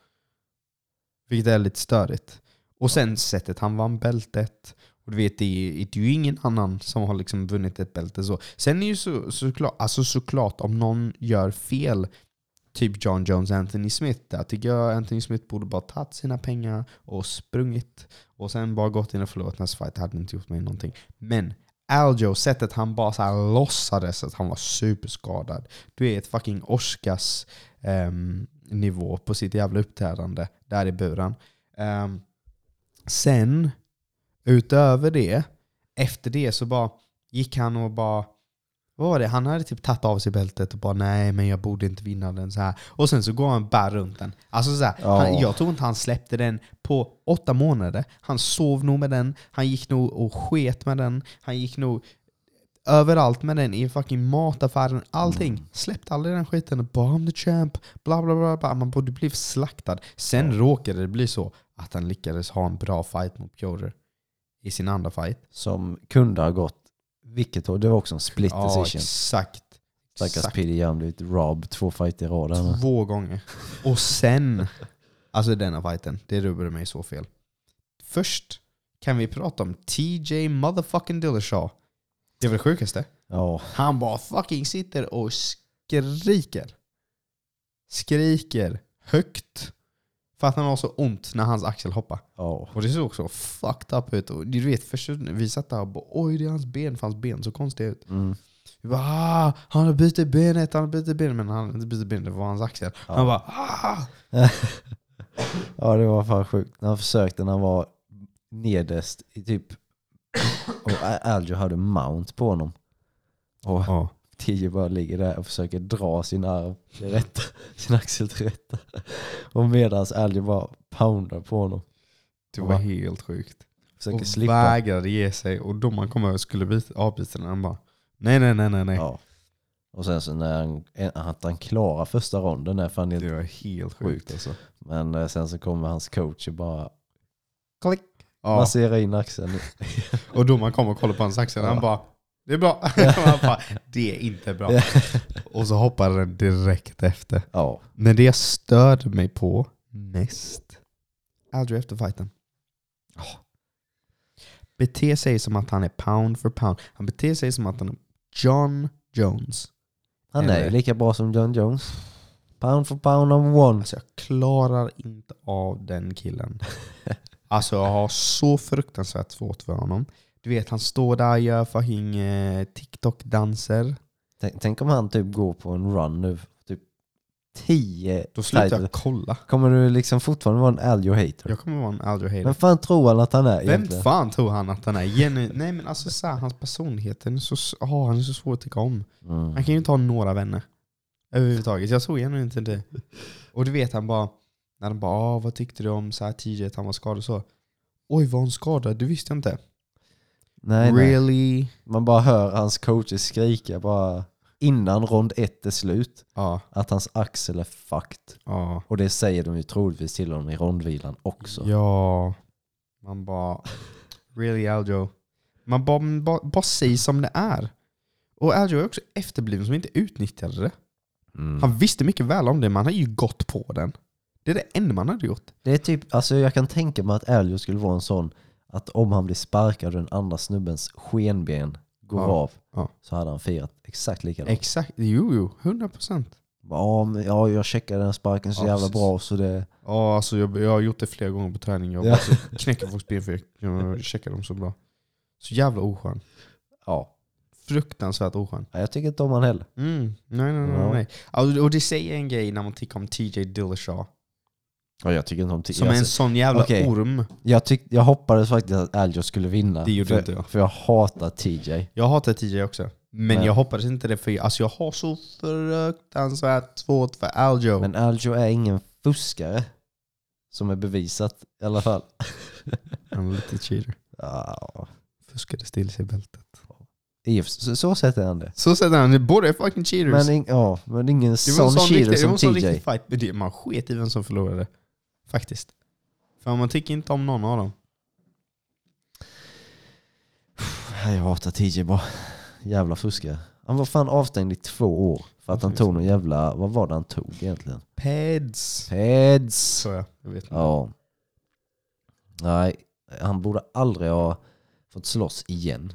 S2: Vilket är lite störigt. Och sen sättet han vann bältet. Och du vet, det är, det är ju ingen annan som har liksom vunnit ett bälte så. Sen är ju så, såklart, alltså såklart om någon gör fel, typ John Jones, Anthony Smith, där tycker jag Anthony Smith borde bara tagit sina pengar och sprungit. Och sen bara gått in och förlorat nästa fight. Det hade inte gjort mig någonting. Men Aljo, sättet han bara så här låtsades att han var superskadad. Du är ett fucking Oscars ehm, nivå på sitt jävla uppträdande där i buren. Ehm, sen, utöver det, efter det så bara gick han och bara vad var det? Han hade typ tagit av sig bältet och bara nej men jag borde inte vinna den så här. Och sen så går han bara runt den. Alltså så här,
S3: Ja.
S2: han, jag tror inte han släppte den på åtta månader. Han sov nog med den, han gick nog och sket med den, han gick nog överallt med den i fucking mataffären, allting. Släppte aldrig den skiten. Bara I'm the champ, bla bla bla. bla. Man borde bli slaktad. Sen råkade det bli så att han lyckades ha en bra fight mot Pjoder i sin andra fight.
S3: Som kunde ha gått vilket håll. Det var också en split decision.
S2: exakt.
S3: Stackars
S2: Exakt.
S3: Piddy Jam blivit robbed två fighter i rad. här med.
S2: Två gånger. Och sen, alltså denna fighten, det rubbade mig så fel. Först kan vi prata om TJ motherfucking Dillashaw. Det var det sjukaste.
S3: Ja,
S2: Han bara fucking sitter och skriker. Skriker högt. För att han har så ont när hans axel hoppar.
S3: ja.
S2: Och det såg så fucked up ut. Och du vet, först vi satt där och bara oj det är hans ben, för hans ben så konstiga ut.
S3: Mm.
S2: Vi bara ah, han har bytt benet, han har bytt benet. Men han hade inte bytt benet, det var hans axel. Han bara ah.
S3: ja, det var fan sjukt. När han försökte när han var nederst i typ... Och Al- Aljo hade mount på honom. Och
S2: Ja.
S3: Tio bara ligger där och försöker dra sin arm till rätta, sin axel till rätta. Och medans Aljo bara poundar på honom.
S2: Det var helt sjukt.
S3: Försöker
S2: Och
S3: slippa.
S2: vägrade ge sig. Och domaren kom över och skulle byta- avbryta den. Han bara nej nej nej nej. nej.
S3: Ja. Och sen så när han, att han klarar första ronden är fan helt
S2: Det var helt
S3: sjukt
S2: sjukt.
S3: alltså. Men eh, sen så kommer hans coach och bara
S2: Klick. Ja.
S3: masserar in axeln.
S2: Och domaren kom och kollade på hans axel och han
S3: Ja.
S2: bara det är bra. han bara, det är inte bra. och så hoppade den direkt efter.
S3: Ja.
S2: När det störde mig på mest, aldrig efter fighten. Åh. Beter sig som att han är pound for pound. Han beter sig som att han är John Jones.
S3: Han är ju
S2: Eller-
S3: lika bra som John Jones. Pound for pound on one.
S2: Alltså jag klarar inte av den killen. Alltså jag har så fruktansvärt svårt för honom. Du vet han står där och gör fucking eh, TikTok-danser.
S3: Tänk, tänk om han typ går på en run nu. Typ 10
S2: Då slutar
S3: titles.
S2: jag kolla.
S3: Kommer du liksom fortfarande vara en Aljo hater?
S2: Jag kommer vara en Aldro Hayden.
S3: Vem fan tror han att han är
S2: Vem
S3: egentligen?
S2: fan tror han att han är? Jenny, nej men alltså så här, hans personlighet, den är så, s- ah, han är så svår att tycka om. Han
S3: Mm.
S2: kan ju inte ha några vänner. Överhuvudtaget. Jag såg genuint inte det. Och du vet han bara, när de bara ah, vad tyckte du om så här tidigt han var skadad och så. Oj var hon skadad? Du visste jag inte.
S3: Nej, nej.
S2: really?
S3: Man bara hör hans coacher skrika bara innan rond ett är slut
S2: Ja,
S3: att hans axel är fucked.
S2: ja.
S3: Och det säger de ju troligtvis till honom i rondvilan också.
S2: Ja. Man bara, Really Aljo. Man bara, man bara, bara säger som det är. Och Aljo är också efterbliven som inte utnyttjade det.
S3: Mm.
S2: Han visste mycket väl om det, men han hade ju gått på den. Det är det enda man hade gjort.
S3: Det är typ, alltså jag kan tänka mig att Elliot skulle vara en sån att om han blir sparkad och den andra snubbens skenben går
S2: Ja,
S3: av
S2: ja.
S3: så hade han firat exakt likadant.
S2: Exakt. Jo, jo. 100 procent.
S3: Ja, men, ja, jag checkade den här sparken så
S2: Ja,
S3: jävla
S2: precis.
S3: bra så det...
S2: Ja, alltså jag, jag har gjort det flera gånger på träning. Jag
S3: Ja.
S2: bara så knäcker folks ben för jag, jag checkar dem så bra. Så jävla oskön.
S3: Ja.
S2: Fruktansvärt oskön.
S3: Nej, Jag tycker inte om han heller.
S2: Mm. Nej, nej, nej.
S3: Ja.
S2: nej. Alltså, och det säger en grej när man tycker om TJ Dillashaw.
S3: Ja, jag tycker inte om... T-
S2: Som
S3: jag,
S2: är en sån jävla
S3: Okej.
S2: orm.
S3: jag, tyck, jag hoppades faktiskt att Elliot skulle vinna.
S2: Det gjorde
S3: för,
S2: inte jag.
S3: För jag hatar TJ.
S2: Jag hatar TJ också. Men
S3: Nej.
S2: jag hoppades inte det för jag, alltså jag har så fruktansvärt svårt för Aljo.
S3: Men Aljo är ingen fuskare. Som är bevisat i alla fall.
S2: Han är lite cheater.
S3: Ja,
S2: Fuskade still sig i bältet.
S3: i och för- så, så sätter han det.
S2: Så säger han, båda är fucking cheaters.
S3: Men, ing, ja, men ingen sån cheater
S2: riktig, det var
S3: som
S2: en sån
S3: TJ.
S2: riktig fight. Men det- Man sket i vem som förlorade. Faktiskt. För man tycker inte om någon av dem.
S3: Nej, Jag hatar TJ bara. Jävla fuskare. Han var fan avstängd i två år för att han tog någon jävla... Vad var det han tog egentligen?
S2: Peds.
S3: Heads!
S2: Så jag, jag vet inte.
S3: Ja. Nej, han borde aldrig ha fått slåss igen.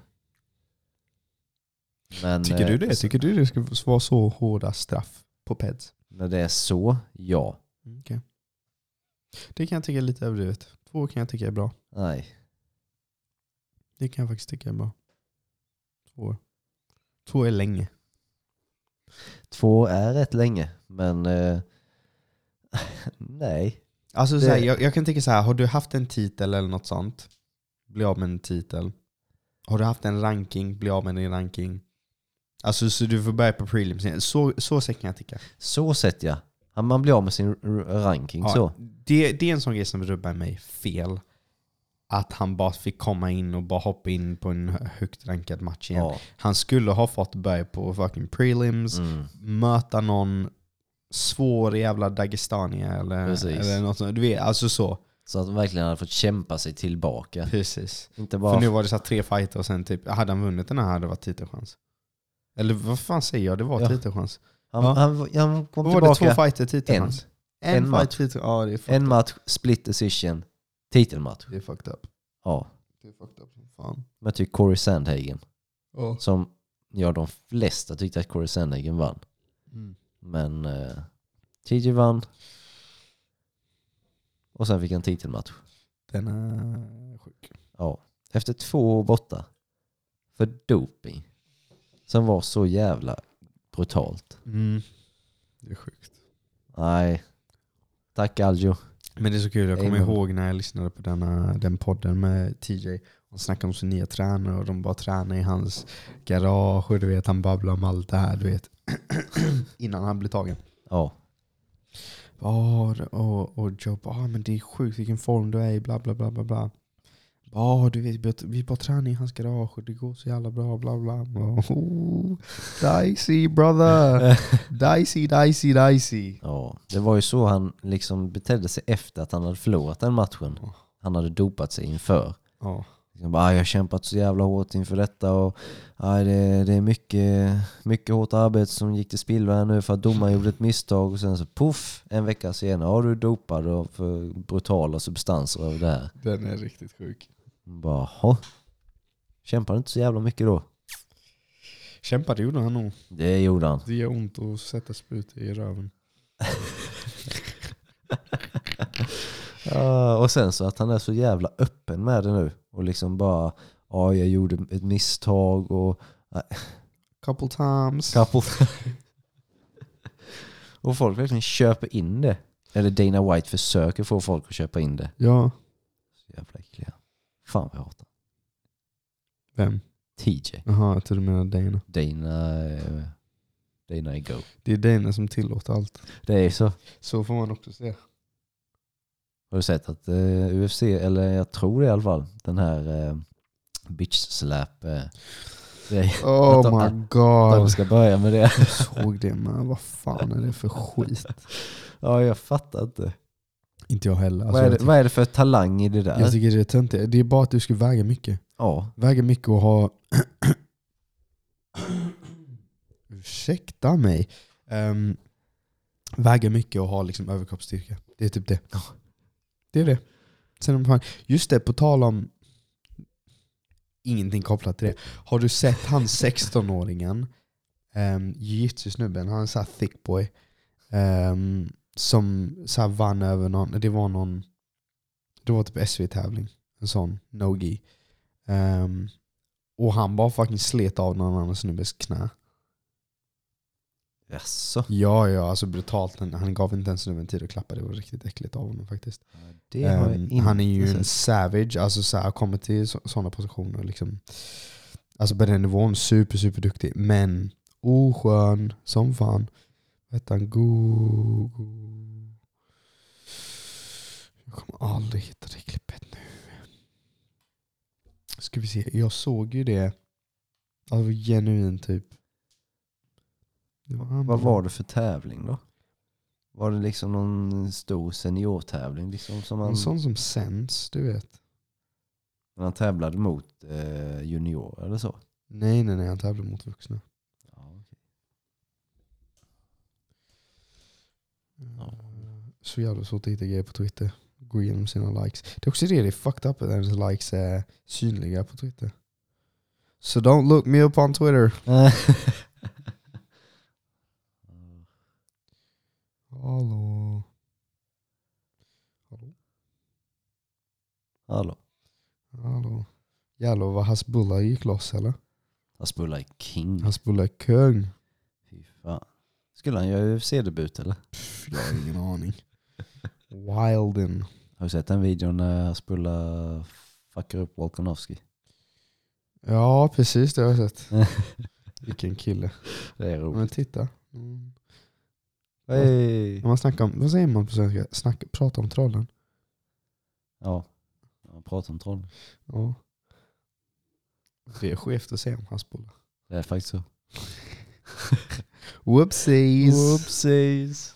S3: Men,
S2: Tycker du
S3: eh,
S2: det? Tycker du det ska vara så hårda straff på Peds?
S3: När det är så, ja.
S2: Mm, okej. Det kan jag tycka är lite överdrivet. Två kan jag tycka är bra.
S3: Nej.
S2: Det kan jag faktiskt tycka är bra. Två år. Två är länge.
S3: Två är rätt länge, men... Eh, nej.
S2: Alltså
S3: Det-
S2: så här, jag, jag kan tycka så här, har du haft en titel eller något sånt, bli av med en titel. Har du haft en ranking, bli av med din ranking. Alltså så du får börja på prelims igen. Så, så säkert kan jag tycka.
S3: Så sett ja. Han- Man blir av med sin r- ranking så.
S2: Ja, det, det är en sån grej som rubbar mig fel. Att han bara fick komma in och bara hoppa in på en hö- högt rankad match igen.
S3: Ja.
S2: Han skulle ha fått börja på fucking prelims.
S3: Mm.
S2: möta någon svår jävla Dagestania eller,
S3: Precis.
S2: eller något sånt. Du vet, alltså så.
S3: Så att han verkligen hade fått kämpa sig tillbaka.
S2: Precis.
S3: Inte
S2: För
S3: bara...
S2: nu var det så här tre fighter och sen typ, hade han vunnit den här hade det varit titelchans. Eller vad fan säger jag? Det var
S3: Ja.
S2: titelchans.
S3: han,
S2: Ja.
S3: han, han kom
S2: Vad var det? Två
S3: tillbaka.
S2: fighter titelchans? En,
S3: En
S2: fight
S3: match.
S2: titel. Ja, det är fucked
S3: En
S2: up.
S3: match, split decision, titelmatch.
S2: Det är fucked up.
S3: Ja.
S2: Det är fucked up som fan.
S3: Mötte ju Corey Sandhagen. Som, ja de flesta tyckte att Corey Sandhagen vann.
S2: Mm.
S3: Men eh, TJ vann. Och sen fick han titelmatch.
S2: Den är sjuk.
S3: Ja. Efter två år borta. För doping. Som var så jävla brutalt.
S2: Mm. Det är sjukt.
S3: Nej. Tack Aljo.
S2: Men det är så kul, jag kommer
S3: Amen.
S2: ihåg när jag lyssnade på denna, den podden med TJ. Han snackade om sin nya tränare och de bara tränade i hans garage och du vet, han babblade om allt det här du vet. Innan han blev tagen.
S3: Ja.
S2: Ja, det- och, och Joe bara, ah, men det är sjukt vilken form du är i, bla bla bla bla bla. Ja, du vet, vi- vi bara tränar i hans garage och det går så jävla bra, bla bla. Och, Oh, dicey brother! Dicey, dicey, dicey.
S3: Ja, det var ju så han liksom betedde sig efter att han hade förlorat den matchen. Han hade dopat sig inför.
S2: Ja,
S3: Liksom bara, "Ah, jag har kämpat så jävla hårt inför detta och aj, det, det är mycket, mycket hårt arbete som gick till spillo här nu för att domaren gjorde ett misstag och sen så poff, en vecka senare har du är dopad och för brutala substanser av det här.
S2: den är riktigt sjuk.
S3: Bara, "Jaha. Kämpade inte så jävla mycket då?
S2: Kämpade gjorde han nog.
S3: Det gjorde han.
S2: Det gör ont att sätta sprutor i röven.
S3: Ja, och sen så att han är så jävla öppen med det nu. Och liksom bara, ja jag gjorde ett misstag och
S2: Couple times.
S3: Couple. och folk verkligen köper in det. Eller Dana White försöker få folk att köpa in det.
S2: Ja.
S3: Så jävla äckliga. Fan vad jag hatar.
S2: Vem?
S3: TJ.
S2: Jaha, jag trodde du menade Dana.
S3: Dana... eh, Dana är go.
S2: Det är Dana som tillåter allt.
S3: Det är så.
S2: Så får man också se.
S3: Har du sett att eh, UFC, eller jag tror det i alla fall, den här eh, bitch slap... Eh, det,
S2: Oh
S3: Vänta,
S2: my
S3: de
S2: god.
S3: ska börja med det.
S2: Jag såg det men vad fan är det för skit?
S3: ja, jag fattar inte.
S2: Inte jag heller. Alltså,
S3: vad, är
S2: jag,
S3: det, vad är det för talang i det där?
S2: tycker, jag tycker det är töntigt. Det är bara att du ska väga mycket.
S3: ja.
S2: Väga mycket och ha... Ursäkta mig. Um, väga mycket och ha liksom överkroppsstyrka. Det är typ det. Det är det. Sen, om fan- just det, på tal om... Ingenting kopplat till det. Har du sett han 16-åringen, um, jiu-jitsu-snubben, han är såhär thick boy, ehm, som såhär vann över någon, det var någon, det var typ SV-tävling, en sån no-gi. Ehm, och han bara fucking slet av någon annan snubbes knä.
S3: Jaså?
S2: Ja, ja, alltså brutalt. Han, han gav inte ens snubben tid att klappa. Det var riktigt äckligt av honom faktiskt.
S3: Det har jag
S2: Ehm,
S3: inte
S2: han är ju en
S3: sett.
S2: savage, alltså så här, kommer till sådana positioner liksom. Alltså på den nivån, super, super duktig. Men oskön som fan. Vad hette han? Go, go. Jag kommer aldrig hitta det klippet nu. Ska vi se, jag såg ju det. Alltså genuint typ. Det var han
S3: Vad
S2: då.
S3: var det för tävling då? Var det liksom någon stor seniortävling liksom som han,
S2: En sån som sänds, du vet.
S3: när han tävlade mot eh, juniorer eller så?
S2: Nej, nej, nej. Han tävlar mot vuxna.
S3: Ja.
S2: Mm. Så jävla svårt att hitta grejer på Twitter. Gå igenom sina likes. Det är också det, det är fucked up att ens likes är synliga på Twitter. So don't look me up on Twitter. Hallå.
S3: Hallå.
S2: Hallå. Jävlar vad Hasbullah gick loss eller?
S3: Han spelar i King.
S2: Hasbullah är kung.
S3: Fy fan. Skulle han göra UFC-debut eller?
S2: Pff, jag har ingen aning. Wilden.
S3: Har du sett den videon när han spelar fuckar upp Volkanovski?
S2: Ja, precis det har jag sett. Vilken kille.
S3: Det är
S2: Men
S3: roligt.
S2: titta. Mm.
S3: Hej.
S2: När man snackar om, vad säger man på svenska? Snack, prata om trollen.
S3: Ja. Han pratar om troll.
S2: Ja. Det är skevt att säga om Hasbullah.
S3: Det är faktiskt så.
S2: Whoopsies.
S3: Oopsies.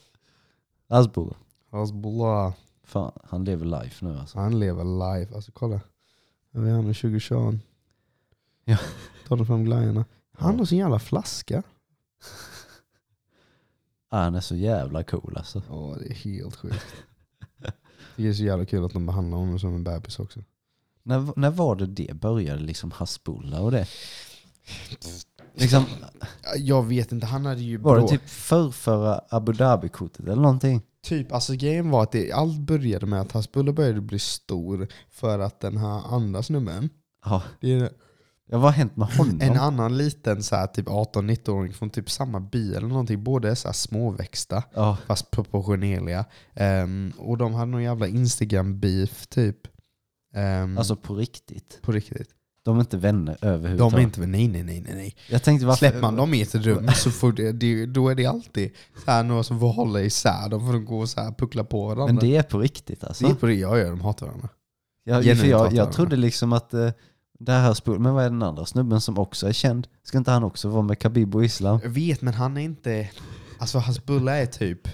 S3: Asbro.
S2: Hasbullah.
S3: Alltså, Fan, han lever life nu alltså.
S2: Alltså, Han lever life. Alltså kolla. Vad är han nu? 20 tjugoan.
S3: Ja.
S2: Tar de fram glajjorna. Han
S3: Ja.
S2: har sin jävla flaska.
S3: Ah, han är så jävla cool alltså.
S2: Ja, det är helt sjukt. Det är så jävla kul att de behandlar honom som en bebis också.
S3: När, när var det det började liksom Hasbulla och det? Liksom,
S2: Jag vet inte, han hade ju
S3: var det
S2: bråk.
S3: typ förrförra Abu Dhabi-kortet eller någonting?
S2: Typ, alltså grejen var att det, allt började med att Hasbulla började bli stor för att den här andra snubben,
S3: Ja,
S2: det är
S3: ja vad har hänt med honom?
S2: en annan liten så här, typ 18-19-åring från typ samma by eller någonting, båda är så här småväxta
S3: ja,
S2: fast proportionerliga. Ehm, och de hade någon jävla instagram-beef typ. Ehm,
S3: alltså på riktigt.
S2: på riktigt.
S3: De är inte vänner överhuvudtaget.
S2: De är inte, nej nej nej nej. nej.
S3: Jag tänkte varför...
S2: Släpper man dem i ett rum så får det, det, då är det alltid så här, några som får hålla isär dem för de går så här puckla på varandra.
S3: Men det är på riktigt alltså.
S2: det är på det jag gör, de hatar varandra.
S3: Jag, för
S2: Genuint
S3: jag,
S2: hatar
S3: jag
S2: jag
S3: trodde liksom att eh, det här spol, men vad är den andra snubben som också är känd? Ska inte han också vara med Khabib och Islam?
S2: Jag vet, men han är inte... Alltså hans bulla är typ...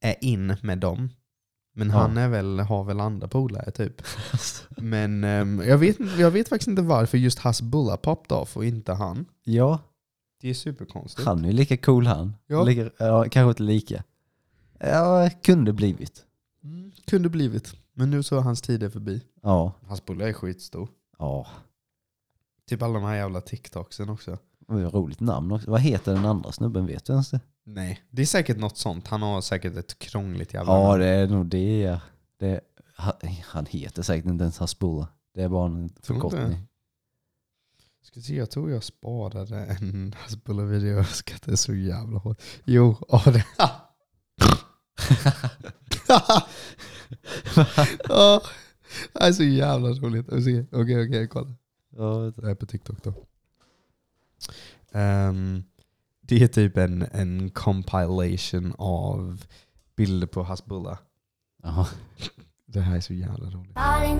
S2: Är in med dem. Men
S3: Ja.
S2: han är väl, har väl andra polare typ. Men ehm, jag, vet, inte- jag vet faktiskt inte varför just hans bulla popped off och inte han.
S3: Ja,
S2: Det är superkonstigt.
S3: han är ju lika cool han.
S2: Ja.
S3: Lika, ja, kanske inte lika. Ja, kunde blivit.
S2: Mm, kunde blivit. Men nu så är hans tid är förbi.
S3: Ja,
S2: Hans bulla är skitstor.
S3: ja.
S2: Typ alla de här jävla TikToksen också.
S3: Det var ett roligt namn också. Vad heter den andra snubben? Vet du ens det?
S2: Nej, det är säkert något sånt. Han har säkert ett krångligt jävla
S3: Ja,
S2: namn.
S3: det är nog det. ja. det han, han heter säkert inte ens Hasbulla. Det är bara en
S2: Tror du inte?
S3: förkortning.
S2: Ska se, jag tror jag sparade en Hasbulla-video. Jag skrattade så jävla hårt. Jo, ja det... Ja, det är så jävla roligt. Jag ska se. Okej, okej, kolla.
S3: Ja,
S2: Det här är på TikTok då. Ehm, det är typ en, en compilation av bilder på Hasbulla.
S3: ja.
S2: Det här är så jävla roligt.
S4: Falling,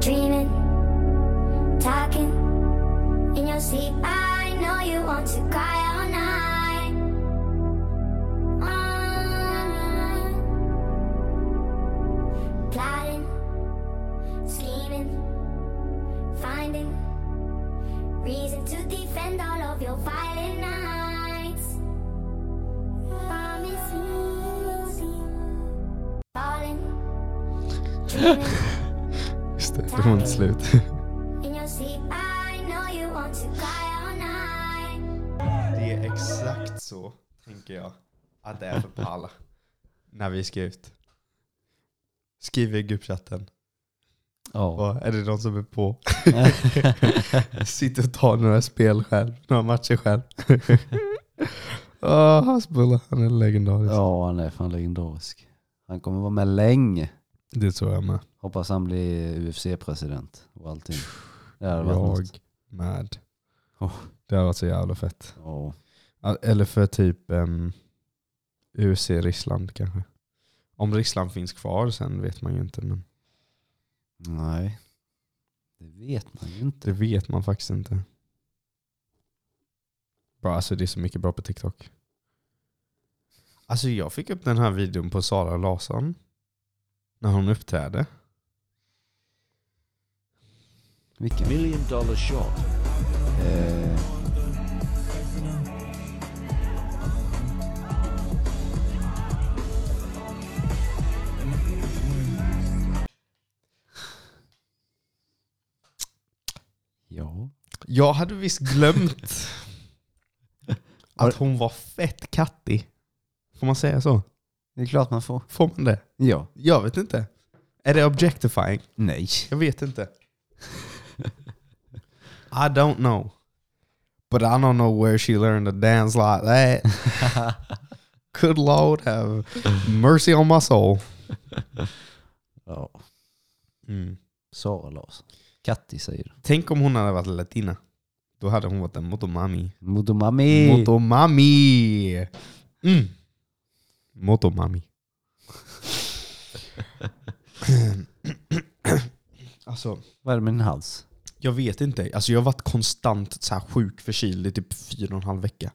S4: dreaming, talking in your sleep. I know you want to cry all Uh. night. On
S2: Just det, det var inte slut.
S4: In your sleep, I know you want to cry all night.
S2: Det är exakt så, tänker jag, att det är för Palla. När vi ska ut. Skriv i gruppchatten.
S3: Ja.
S2: Vad Är det någon som är på? Sitter och tar några spel själv. Några matcher själv. oh, Hasbulla, han är legendarisk.
S3: ja, han är fan legendarisk. Han kommer vara med länge.
S2: Det tror jag med.
S3: Hoppas han blir UFC-president och allting. Det hade varit
S2: Jag
S3: något.
S2: med.
S3: Oh.
S2: Det har varit så jävla fett.
S3: Ja.
S2: Ja, Eller för typ um, UC Ryssland kanske. Om Ryssland finns kvar sen vet man ju inte. Men
S3: Nej. Det vet man ju inte.
S2: det vet man faktiskt inte. Bra, alltså det är så mycket bra på TikTok. Alltså jag fick upp den här videon på Sara Larsson. När hon uppträdde.
S3: Vilken?
S5: Million Dollar Shot.
S3: Eh, ja.
S2: Jag hade visst glömt att hon var fett kattig. Får man säga så?
S3: Det är klart man får.
S2: Får man det?
S3: Ja.
S2: Jag vet inte. Är det objectifying?
S3: Nej.
S2: Jag vet inte. I don't know. But I don't know where she learned to dance like that. Good lord have mercy on my soul.
S3: Ja. Sara Larsson. Katti säger du.
S2: Tänk om hon hade varit latina. Då hade hon varit en motomami.
S3: Motomami.
S2: Motomami! Mm. Motomami. alltså,
S3: Vad är det med din hals?
S2: jag vet inte. Alltså, jag har varit konstant så här sjukt förkyld i typ fyra och en halv vecka.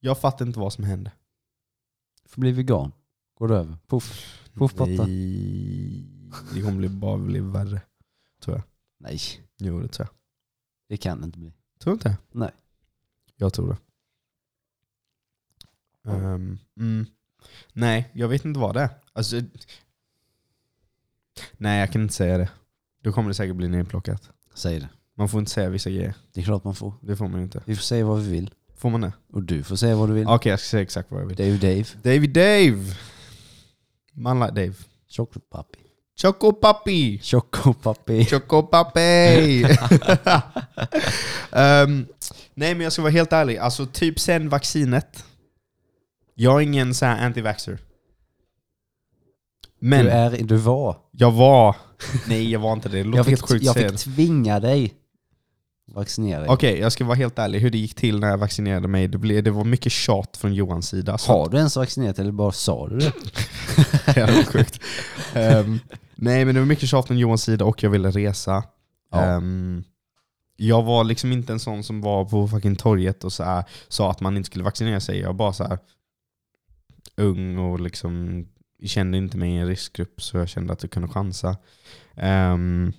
S2: Jag fattar inte vad som hände.
S3: Får bli vegan. Går det över? Puff. Puffpotta.
S2: Nej. Det kommer bli bara bli värre.
S3: Nej.
S2: Jo, det tror jag.
S3: Det kan inte bli.
S2: Tror du inte?
S3: Nej.
S2: Jag tror det. Ehm, mm. Nej, jag vet inte vad det är. Alltså, nej, jag kan inte säga det. Då kommer det säkert bli nedplockat.
S3: Säg det.
S2: Man får inte säga vissa grejer.
S3: Det är klart man får.
S2: Det får man inte.
S3: Vi får säga vad vi vill.
S2: Får man det?
S3: Och du får säga vad du vill.
S2: Okej, jag ska säga exakt vad jag vill.
S3: Det är ju Dave.
S2: David Dave! Man like Dave.
S3: Chocolate puppy.
S2: Choco Papi!
S3: Choco puppy.
S2: Choco Papi! Ehm, nej, men jag ska vara helt ärlig. Alltså, typ sen vaccinet. Jag är ingen så här anti-vaxxer. Men
S3: Du är, du var.
S2: jag var... Nej, jag var inte det. Det låter
S3: Jag
S2: helt
S3: fick,
S2: sjukt
S3: jag
S2: att säga
S3: fick
S2: det.
S3: tvinga dig. Vaccinera dig.
S2: Okej, jag ska vara helt ärlig. Hur det gick till när jag vaccinerade mig, det, blev, det var mycket tjat från Johans sida. Så
S3: Har du ens vaccinerat eller bara sa du det?
S2: Ja, det var sjukt. Ehm, nej, men det var mycket tjat från Johans sida och jag ville resa.
S3: Ja.
S2: Ehm, jag var liksom inte en sån som var på fucking torget och så här, sa att man inte skulle vaccinera sig. Jag var bara så här ung och liksom kände inte mig i en riskgrupp så jag kände att jag kunde chansa. Ehm,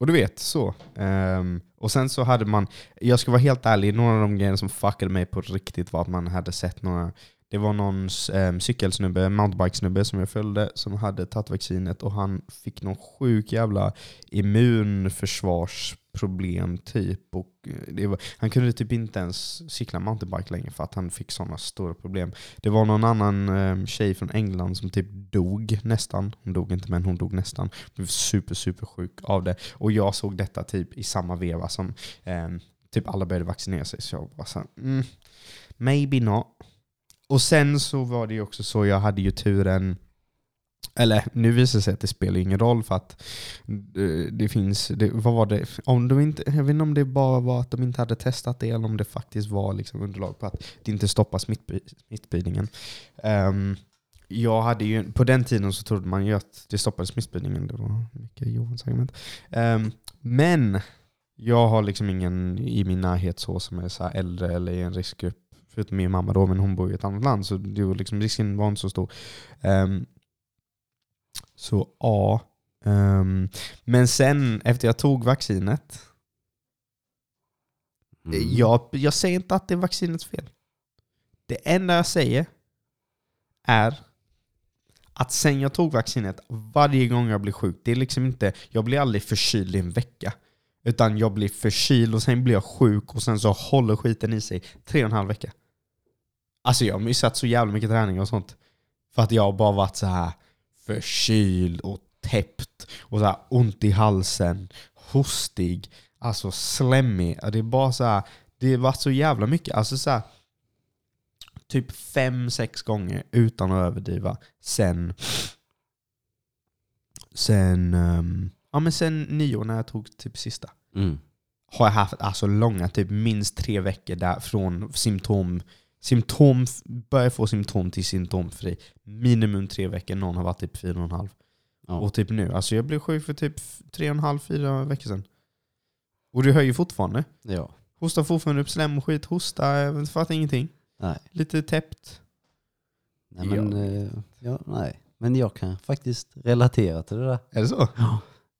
S2: och du vet, så. Ehm, och sen så hade man, jag ska vara helt ärlig, några av de grejerna som fuckade mig på riktigt var att man hade sett några det var någon eh, cykelsnubbe, mountainbikesnubbe som jag följde som hade tagit vaccinet och han fick någon sjuk jävla immunförsvarsproblem typ. Och eh, det var, han kunde typ inte ens cykla mountainbike längre för att han fick sådana stora problem. Det var någon annan eh, tjej från England som typ dog nästan. Hon dog inte men hon dog nästan. Blev super super sjuk av det. Och jag såg detta typ i samma veva som eh, typ alla började vaccinera sig. Så jag bara såhär, mm, maybe not. Och sen så var det ju också så, jag hade ju turen eller nu visar det sig att det spelar ingen roll för att eh, det finns, det, vad var det? Om de inte, jag vet inte om det bara var att de inte hade testat det eller om det faktiskt var liksom underlag på att det inte stoppar smittby- smittspridningen. Ehm, jag hade ju, på den tiden så trodde man ju att det stoppade smittspridningen. Det var mycket Johans argument. Ehm, men jag har liksom ingen i min närhet så som är så här äldre eller i en riskgrupp. Förutom min mamma då, men hon bor i ett annat land så det var liksom, risken var inte så stor. Ehm, så ja. Ehm, men sen efter jag tog vaccinet,
S3: Mm.
S2: jag, jag säger inte att det är vaccinets fel. Det enda jag säger är Att sen jag tog vaccinet, varje gång jag blir sjuk, det är liksom inte, jag blir aldrig förkyld i en vecka. Utan jag blir förkyld och sen blir jag sjuk och sen så håller skiten i sig tre och en halv vecka. Alltså jag har missat så jävla mycket träning och sånt. För att jag har bara varit så här förkyld och täppt och så här ont i halsen, hostig, alltså slemmig. Ja, Det är bara så här, det har varit så jävla mycket. Alltså så här, typ fem, sex gånger utan att överdriva sen sen, ehm, ja, men sen nyår när jag tog typ sista
S3: Mm.
S2: har jag haft alltså långa, typ minst tre veckor där från symptom, symptom börjar få symptom till symptomfri. Minimum tre veckor, någon har varit typ fyra och en halv.
S3: Ja.
S2: Och typ nu, alltså jag blev sjuk för typ f- tre och en halv, fyra veckor sedan. Och det hör ju fortfarande.
S3: Ja.
S2: Hostar fortfarande upp slem och skit, hosta, jag fattar ingenting.
S3: Nej.
S2: Lite täppt.
S3: Nej, men, eh, ja, nej. men jag kan faktiskt relatera till det där.
S2: Är det så?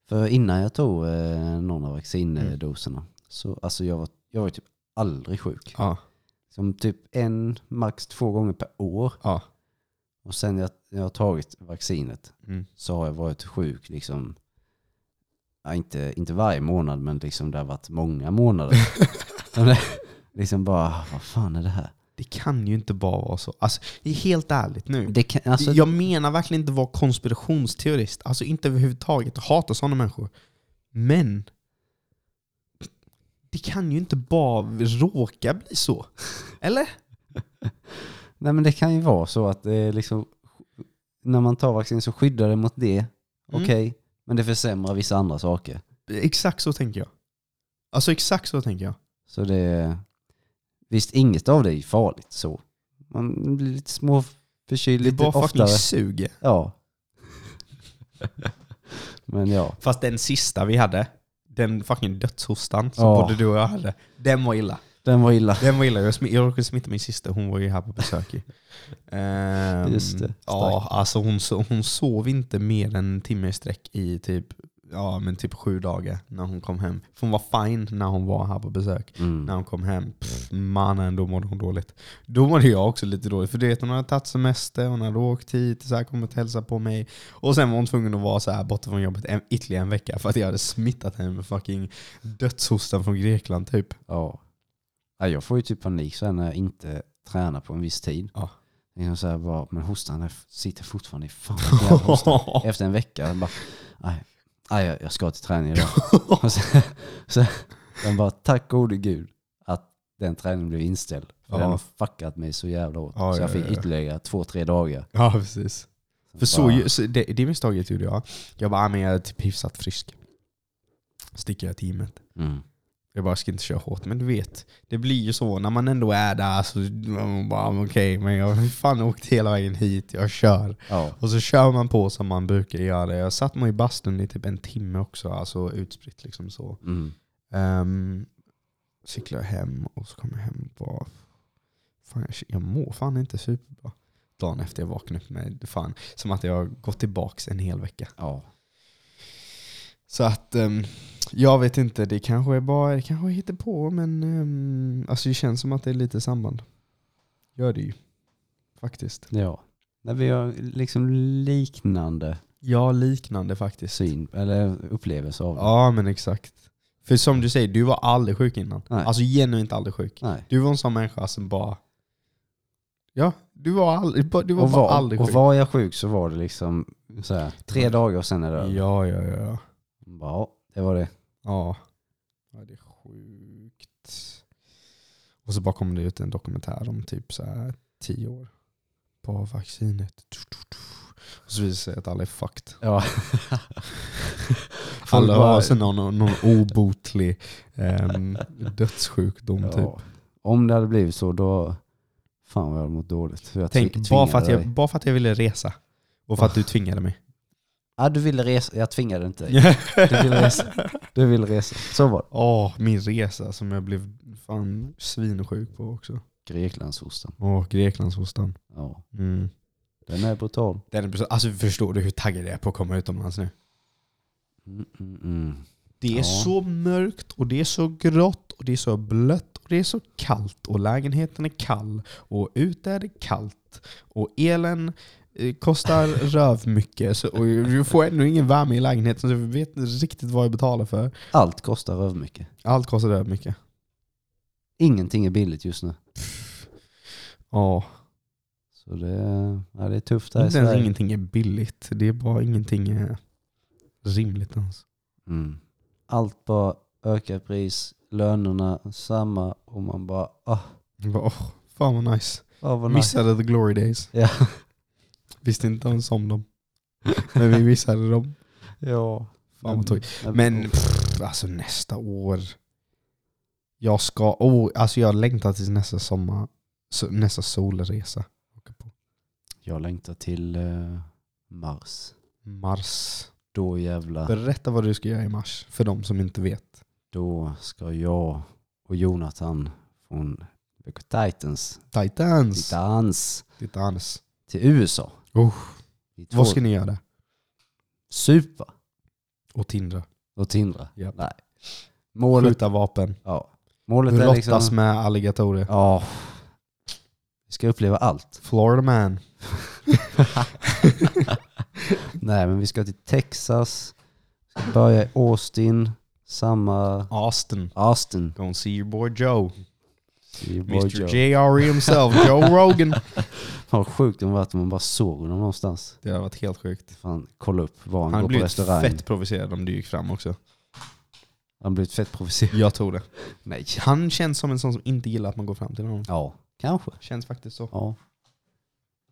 S3: För innan jag tog eh, någon av
S2: Mm.
S3: vaccindoserna så alltså jag var jag var typ aldrig sjuk.
S2: Ja.
S3: Som typ en, max två gånger per år.
S2: Ja.
S3: Och sen jag, jag har tagit vaccinet
S2: Mm.
S3: så har jag varit sjuk liksom, ja, inte, inte varje månad men liksom det har varit många månader. Och det- liksom bara, vad fan är det här?
S2: Det kan ju inte bara vara så. Alltså, helt ärligt nu.
S3: Det kan, alltså,
S2: jag menar verkligen inte vara konspirationsteorist, alltså inte överhuvudtaget. Jag hatar sådana människor. Men det kan ju inte bara råka bli så. Eller?
S3: Nej men det kan ju vara så att det är liksom, när man tar vaccin så skyddar det mot det, okej, men det försämrar vissa andra saker.
S2: Exakt så tänker jag. Alltså exakt så tänker jag.
S3: Så det är, visst inget av det är ju farligt så. Man blir lite små förkyld
S2: Det är
S3: lite
S2: bara
S3: oftare.
S2: fucking suger.
S3: Ja. men ja,
S2: Fast den sista vi hade, den fucking dödshostan som
S3: Ja.
S2: både du och jag hade, den var illa.
S3: den var illa.
S2: Den var illa. Jag, smi- jag råkade smitta min syster, hon var ju här på besök. ju. Ehm,
S3: Just det,
S2: Ja, alltså hon, so- hon sov inte mer än en timme i sträck i typ, ja, men typ sju dagar när hon kom hem. För hon var fine när hon var här på besök.
S3: Mm.
S2: När hon kom hem, pff, mannen, då mådde hon dåligt. Då mådde jag också lite dåligt. För du vet, hon hade tagit semester, hon hade åkt hit, så här, kommit hälsa på mig. Och sen var hon tvungen att vara så här borta från jobbet en, ytterligare en vecka för att jag hade smittat henne med fucking dödshostan från Grekland typ.
S3: Ja. ja. Jag får ju typ panik så här när jag inte tränar på en viss tid.
S2: Ja.
S3: Liksom så här bara, men hostan är- sitter fortfarande i fan vilken jävla hosta. Efter en vecka, jag bara, nej, nej jag- jag ska till träning idag. Och så, så, jag bara, tack gode gud att den träningen blev inställd. För
S2: Ja.
S3: den har fuckat mig så jävla hårt.
S2: Ja,
S3: så jag
S2: ja,
S3: fick
S2: ja, ja.
S3: ytterligare två, tre dagar.
S2: Ja, precis. För så,
S3: bara,
S2: ju- så det, det misstaget gjorde jag. Jag bara, "Ah, men jag är typ hyfsat frisk. Sticker jag till gymmet.
S3: Mm.
S2: Jag bara, jag ska inte köra hårt. Men du vet, det blir ju så när man ändå är där. Så man bara, "Men okej, men jag har fan åkt hela vägen hit. Jag kör.
S3: Ja,
S2: Och så kör man på som man brukar göra. Jag satt mig i bastun i typ en timme också. Alltså utspritt liksom så.
S3: mm.
S2: Um, cyklar jag hem och så kommer jag hem och bara... Fan, jag, jag mår fan inte superbra. Dagen efter jag vaknade upp med fan som att jag har gått tillbaks en hel vecka.
S3: ja.
S2: Så att ehm, jag vet inte, det kanske är bara det kanske hittar på men ehm, alltså det känns som att det är lite samband. Gör det ju. Faktiskt.
S3: ja. När vi har liksom liknande
S2: Ja, liknande faktiskt.
S3: syn, eller upplevelse av det.
S2: Ja men exakt. För som du säger, du var aldrig sjuk innan.
S3: Nej.
S2: Alltså genuint aldrig sjuk.
S3: Nej.
S2: Du var en sån människa som bara... Ja, du var aldrig, bara- du var
S3: Och
S2: bara
S3: var,
S2: aldrig
S3: och
S2: sjuk.
S3: var jag sjuk så var det liksom så här, tre dagar och sen är det över.
S2: ja, ja, ja.
S3: Bara, Ja, det var det.
S2: Ja. ja, det är sjukt. Och så bara kom det ut en dokumentär om typ så här tio år på vaccinet. Och så visar det sig att alla är fucked.
S3: Ja.
S2: Alla
S3: bara-
S2: har alltså någon, någon obotlig ehm, dödssjukdom typ.
S3: Ja. Om det hade blivit så då, fan vad jag hade mått dåligt. För jag tvi-
S2: Tänk, bara för, att
S3: tvingade
S2: jag,
S3: dig.
S2: bara för att jag ville resa. Och för att du tvingade mig.
S3: Ja du ville resa, jag tvingade inte dig. Du ville resa. Du ville resa. Så var det.
S2: Åh, min resa som jag blev fan svinsjuk på också.
S3: Greklandshostan.
S2: Åh, Greklandshostan.
S3: Ja.
S2: Mm.
S3: Den är brutal.
S2: Den är precis- Alltså förstår du hur taggad jag är på att komma utomlands nu?
S3: Mm, mm, mm.
S2: Det är
S3: Ja.
S2: så mörkt och det är så grått och det är så blött och det är så kallt och lägenheten är kall och ute är det kallt och elen eh, kostar röv mycket så, och du får ändå ingen värme i lägenheten så jag vet inte riktigt vad jag betalar för.
S3: Allt kostar över mycket.
S2: Allt kostar röv mycket.
S3: Ingenting är billigt just nu.
S2: Ja,
S3: Så det, är- ja, det är tufft här i
S2: inte ens
S3: Sverige.
S2: ingenting är billigt. Det är bara ingenting är rimligt ens.
S3: Mm. Allt bara ökar i pris, lönerna samma och man bara ah,
S2: Jag bara, Åh, fan vad nice.
S3: ah vad nice.
S2: Missade the glory days.
S3: Ja.
S2: Visste inte ens om dem. Men vi missade dem.
S3: ja. oh.
S2: Fan vad tråkigt. Men pff, alltså nästa år. Jag ska, oh, alltså jag längtar till nästa sommar, so- nästa solresa. Åka på
S3: Jag längtar till eh, Mars.
S2: Mars.
S3: Då jävla
S2: Berätta vad du ska göra i mars, för de som inte vet.
S3: då ska jag och Jonathan från Veco Titans,
S2: Titans!
S3: Titans
S2: Titans.
S3: till USA.
S2: Oh.
S3: Vi två
S2: Vad ska ni göra?
S3: supa
S2: Och tindra.
S3: och tindra.
S2: Japp.
S3: Nej. Målet,
S2: Skjuta vapen.
S3: ja. Målet är
S2: Brottas
S3: liksom...
S2: med alligatorer.
S3: Ja. Vi ska uppleva allt.
S2: Florida man.
S3: Nej, men vi ska till Texas. Vi ska börja i Austin. Samma...
S2: Austin.
S3: Austin.
S2: Gonna see your boy Joe.
S3: See you, boy,
S2: Mr
S3: Joe.
S2: JRE E himself. Joe Rogan.
S3: Vad sjukt det varit om man bara såg honom någonstans.
S2: Det har varit helt sjukt.
S3: Fan, kolla upp var han,
S2: Han
S3: går på
S2: blev
S3: restaurang.
S2: fett provocerad om du gick fram också.
S3: Han blev fett provocerad.
S2: Jag tror det.
S3: Nej.
S2: Han känns som en sån som inte gillar att man går fram till honom.
S3: Ja, kanske.
S2: Känns faktiskt så.
S3: Ja.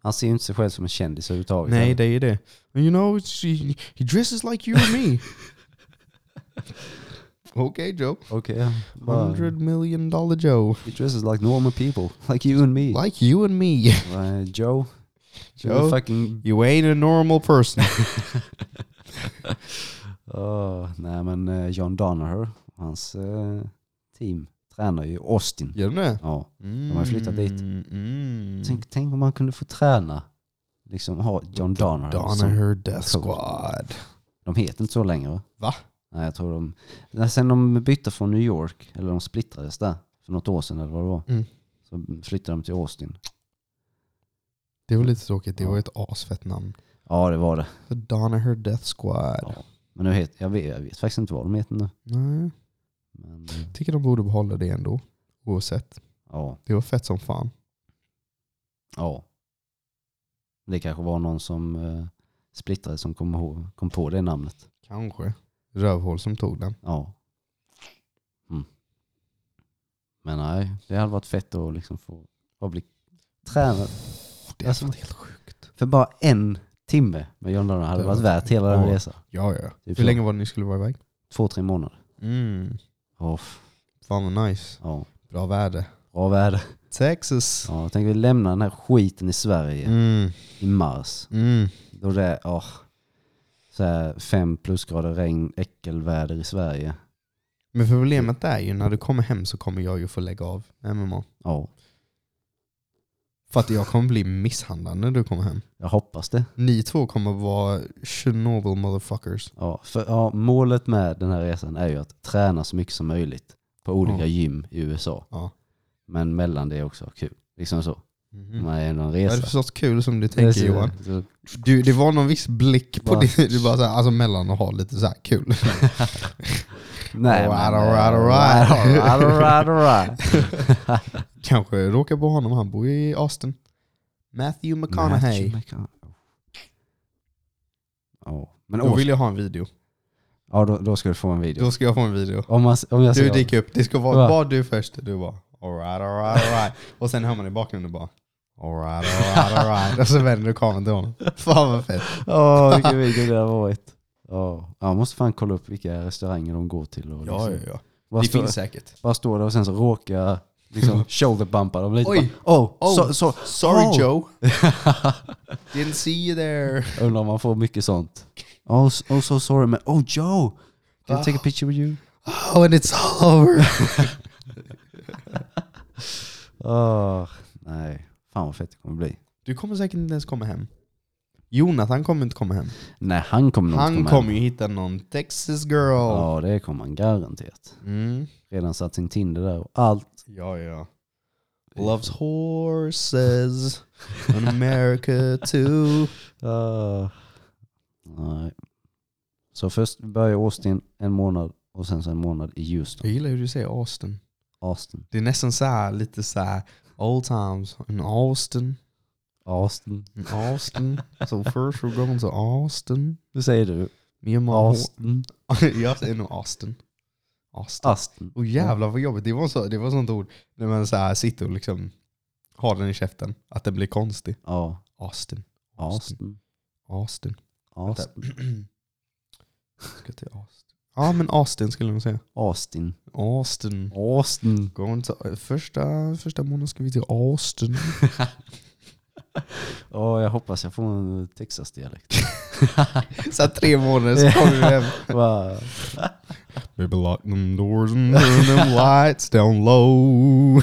S3: Han ser ju inte sig själv som en kändis överhuvudtaget.
S2: Nej, det är det. You know, it's, he, he dresses like you and me. okay Joe.
S3: Okej. Okay.
S2: Hundred million dollar Joe.
S3: He dresses like normal people. Like you and me.
S2: Like you and me.
S3: Uh, Joe.
S2: Joe.
S3: Joe. Fucking...
S2: You ain't a normal person.
S3: Oh, nej men eh, John Donaher och hans eh, team tränar ju i Austin.
S2: Gör de det?
S3: Ja.
S2: Mm,
S3: De har flyttat dit.
S2: Mm.
S3: Tänk, tänk om man kunde få träna. Liksom ha John Donaher. som-
S2: Donaher Death Squad.
S3: De heter inte så längre va?
S2: Va?
S3: Nej jag tror de... Nej, sen de bytte från New York, eller de splittrades där för något år sedan eller vad det var.
S2: Mm.
S3: Så flyttade de till Austin.
S2: Det var lite tråkigt. Det
S3: Ja.
S2: var ett asfett namn.
S3: Ja det var det.
S2: The Donaher Death Squad.
S3: Ja. Men nu heter, jag, vet, jag vet faktiskt inte vad de heter nu.
S2: Nej.
S3: Men eh,
S2: Tycker de borde behålla det ändå. Oavsett.
S3: ja,
S2: Det var fett som fan.
S3: ja. Det kanske var någon som eh, splittrades som kom, ihåg, kom på det namnet.
S2: Kanske. Rövhål som tog den.
S3: Ja. Mm. Men nej, det hade varit fett att liksom få, få bli tränad.
S2: Det
S3: är Alltså- fan
S2: helt sjukt.
S3: För bara en timme med John Donner hade
S2: Det
S3: varit
S2: var-
S3: värt hela den
S2: Ja.
S3: resan.
S2: Ja, ja.
S3: Typ
S2: Hur
S3: så.
S2: länge var det ni skulle vara iväg?
S3: Två, tre månader.
S2: Mm.
S3: Ja, f-
S2: Fan vad nice.
S3: ja.
S2: Bra väder.
S3: Bra väder.
S2: Texas.
S3: Ja, tänk vi lämnar den här skiten i Sverige
S2: Mm.
S3: i mars.
S2: Mm.
S3: Då det är åh, så här fem plusgrader regn, äckelväder i Sverige.
S2: Men problemet är ju när du kommer hem så kommer jag ju få lägga av MMA.
S3: Ja,
S2: För att jag kommer bli misshandlad när du kommer hem.
S3: jag hoppas det.
S2: Ni två kommer vara Chernobyl motherfuckers.
S3: Ja, för, ja, målet med den här resan är ju att träna så mycket som möjligt på olika
S2: Ja.
S3: gym i USA.
S2: Ja.
S3: Men mellan det är också kul. Liksom så.
S2: Mhm.
S3: Man är ändå
S2: Mm.
S3: en
S2: Vad är
S3: resa.
S2: det för sorts kul som du
S3: Det är
S2: tänker
S3: så-
S2: Johan?
S3: så-
S2: Du, det var någon viss blick på
S3: Bara-
S2: det. Du bara såhär, alltså mellan och ha lite såhär kul.
S3: Nej,
S2: Alright,
S3: men, eh,
S2: alright, alright.
S3: alright, alright, alright.
S2: Kanske råkar på honom, han bor i Austin. Matthew McConaughey.
S3: Matthew McConaughey. Ja, men
S2: Då
S3: års,
S2: vill jag ha en video.
S3: ja, då, då ska du få en video.
S2: Då ska jag få en video.
S3: Om, man, om jag
S2: Du
S3: säger,
S2: dyker upp, det ska vara
S3: Va?
S2: bara du först. Du bara alright, alright, alright. Och sen hör man i bakgrunden bara alright, alright, alright. Och så vänder du kameran till honom. Fan vad fett.
S3: Åh, vilken video det har varit. Ja, jag måste fan kolla upp vilka restauranger de går till. Och liksom.
S2: ja.
S3: Bara,
S2: Det
S3: stå,
S2: finns säkert.
S3: bara står där och sen så råkar jag liksom shoulderbumpa dem lite.
S2: Oj.
S3: Bara, oh,
S2: Oh.
S3: So, so.
S2: Sorry
S3: Oh.
S2: Joe. Didn't see you there.
S3: Undrar om man får mycket sånt. Oh, s- oh so sorry men oh Joe! Can I take a
S2: Ah.
S3: picture with you?
S2: Oh and it's all over.
S3: Åh, Ah, nej, fan vad fett det kommer bli.
S2: Du kommer säkert inte ens komma hem. Jonathan kommer inte komma hem.
S3: Nej, han kommer nog inte
S2: Han
S3: komma
S2: kommer
S3: hem.
S2: ju hitta någon Texas girl.
S3: Ja, det kommer han garanterat.
S2: Mm.
S3: Redan satt sin Tinder där och allt.
S2: Ja, ja. Loves horses. And America too.
S3: Ah. Nej. Så först börjar Austin en månad och sen så en månad i Houston.
S2: Jag gillar hur du säger Austin.
S3: Austin.
S2: Det är nästan så här, lite så här old times. In Austin.
S3: Austin.
S2: In Austin. so first we're going to Austin.
S3: Hur säger du?
S2: Me and my
S3: Austin.
S2: Jag säger nog Austin. Austin.
S3: Austin.
S2: Och jävlar vad jobbigt. Det var, så, det var sånt ord när man så här sitter och liksom har den i käften. Att den blir konstig.
S3: Ja.
S2: Austin.
S3: Austin.
S2: Austin.
S3: Austin.
S2: Ska till Austin. Ja men Austin skulle man säga.
S3: Austin.
S2: Austin.
S3: Austin.
S2: Going to, första, första månaden ska vi till Austin.
S3: Ja, jag hoppas jag får en Texas-dialekt.
S2: Så här tre månader så kommer vi hem.
S3: Bara,
S2: Baby lock them doors and turn them lights down low.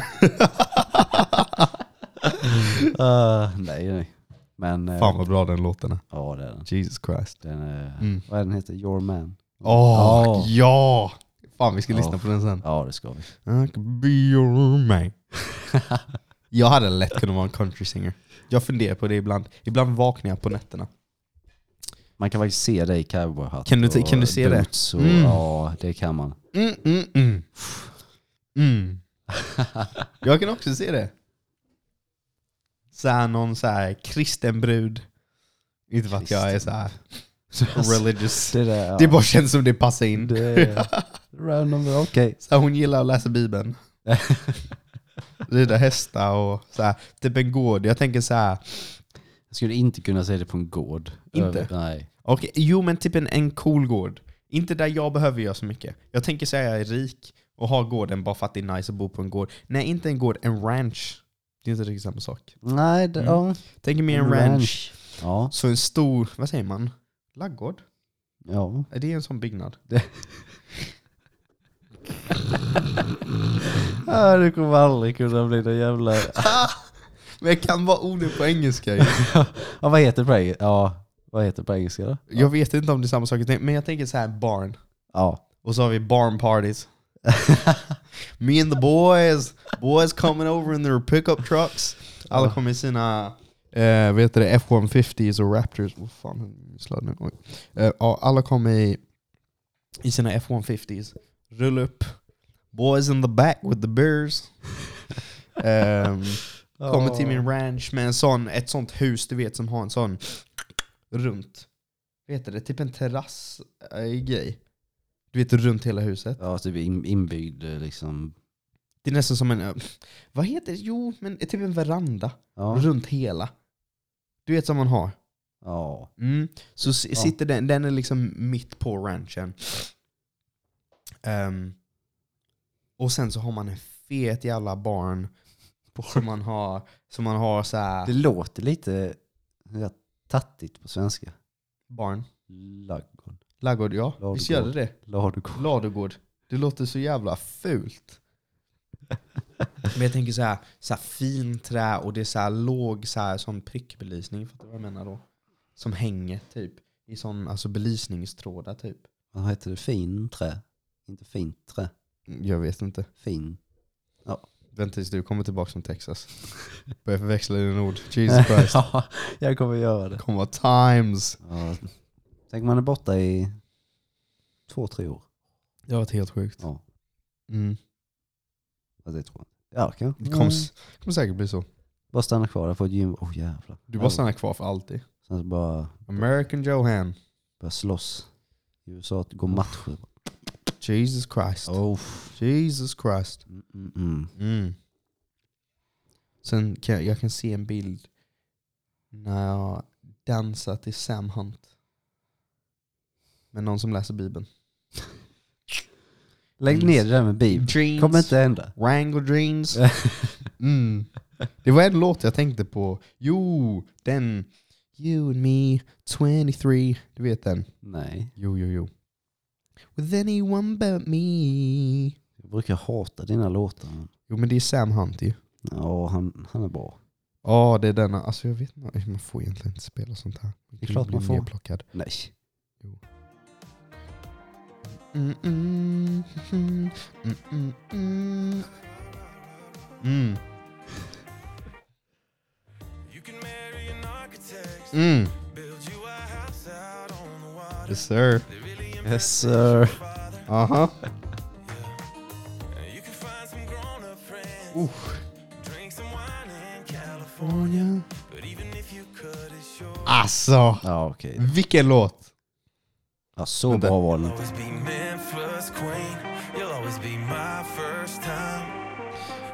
S3: ah, nej, nej. Men eh,
S2: Fan vad bra den låten är.
S3: ja, det är den.
S2: Jesus Christ.
S3: den är,
S2: Mm.
S3: Vad är den heter? Your man?
S2: Åh,
S3: Ja.
S2: ja! Fan vi ska
S3: Ja.
S2: lyssna på den sen.
S3: Ja, det ska vi.
S2: I could be your man. jag hade lätt kunnat vara en country singer. Jag funderar på det ibland. Ibland vaknar jag på nätterna.
S3: Man kan faktiskt se dig i cowboyhatt
S2: Kan du-
S3: och
S2: kan du se det?
S3: boots Och,
S2: Mm.
S3: Ja, det kan man.
S2: Mm, mm, mm. Mm. Jag kan också se det. Så här någon så här kristen brud. Inte för att jag är så här religious.
S3: Det, där, ja.
S2: Det bara känns som det passar in.
S3: Det är random, men okej.
S2: Så här, hon gillar att läsa bibeln. Rida hästar och så här, typ en gård. Jag tänker så här.
S3: Jag skulle inte kunna säga det på en gård.
S2: Inte?
S3: nej.
S2: Okej, jo men typ en, en cool gård. Inte där jag behöver göra så mycket. Jag tänker säga jag är rik och har gården bara för att det är nice att bo på en gård. Nej, inte en gård, en ranch. Det är inte riktigt samma sak.
S3: Nej, det,
S2: Mm.
S3: ja.
S2: Tänk mig en
S3: En
S2: ranch.
S3: ranch. Ja,
S2: Så en stor, vad säger man? Laggård?
S3: ja.
S2: Är det en sån byggnad?
S3: Ah, du kommer aldrig kunna bli någon jävla...
S2: Men jag kan vara orden på engelska ju.
S3: Ja, vad heter det på engelska? Ja, vad heter det på engelska då?
S2: Jag vet inte om det är samma sak, men jag tänker så här barn.
S3: Ja.
S2: Och så har vi barn parties. Me and the boys, boys coming over in their pickup trucks. Alla kommer i sina, eh, vad heter det, F150s och Raptors. Vad fan, jag slår nu. Oj. Eh, ja, alla kommer i, i sina F150s. Rulla upp. Boys in the back with the beers. Ehm, kommer till min ranch med en sån, ett sånt hus du vet som har en sån runt. Vad heter det? Typ en terrass eh, grej. Du vet runt hela huset.
S3: Ja, typ in- inbyggd eh, liksom.
S2: Det är nästan som en... eh, Vad heter det? Jo, men typ en veranda.
S3: Ja.
S2: Runt hela. Du vet som man har.
S3: ja.
S2: Mm. Så s-
S3: Ja.
S2: sitter den, den är liksom mitt på ranchen. Ehm, och sen så har man en fet jävla barn. Som man har, som man har så
S3: Det
S2: här,
S3: låter lite ja, tattigt på svenska.
S2: barn.
S3: Laggård.
S2: Laggård, ja.
S3: Ladugård.
S2: Visst gör det det?
S3: Ladugård.
S2: Ladugård. Det låter så jävla fult. Men jag tänker så här, så här fin trä och det är så här låg så här, sån prickbelysning, fattar du vad jag menar då? Som hänger typ i sån alltså belysningstrådar typ.
S3: Vad heter det? Fin trä? Inte fint trä.
S2: Mm, Jag vet inte.
S3: Fin.
S2: Vänta tills du kommer tillbaka från Texas. Börjar förväxla dina ord. Jesus Christ.
S3: ja, jag kommer göra det.
S2: Komma times.
S3: Ja. Tänk man är borta i två, tre år.
S2: Det har varit helt sjukt.
S3: Ja,
S2: Mm.
S3: fast det tror jag inte. Ja, kanske.
S2: Det kommer, s- kommer säkert bli så.
S3: Bara stanna kvar där på ett gym. Åh oh, jävlar.
S2: Du bara stannar kvar för alltid.
S3: Sen så bara
S2: American Johan.
S3: börja slåss. I USA att gå matcher.
S2: Jesus Christ.
S3: Oh.
S2: Jesus Christ.
S3: Mm, mm, mm.
S2: Mm. Sen kan jag, jag kan se en bild när jag dansar till Sam Hunt. Med någon som läser Bibeln.
S3: Lägg ner det där med bib.
S2: Jeans.
S3: kommer inte hända.
S2: Wrangle jeans. Mm. Det var en låt jag tänkte på. Jo, den. You and me, 23. Du vet den.
S3: Nej.
S2: Jo, jo, jo. With anyone but me.
S3: Jag brukar hata dina låtar. men-
S2: Jo, men det är Sam Hunt ju.
S3: Ja, han, han är bra.
S2: Ja, det är denna. Alltså jag vet inte, man får egentligen inte spela sånt här.
S3: Det är klart
S2: blir
S3: man får.
S2: nedplockad.
S3: Nej.
S2: Mm, mm, mm, mm, mm, mm. Mm. Yes Uh-huh. sir.
S3: Yes sir.
S2: Aha. Uh. Ah, Alltså,
S3: Ja okej.
S2: vilken låt!
S3: Ja, så bra var den.
S6: always be man first queen. You'll always be my first time.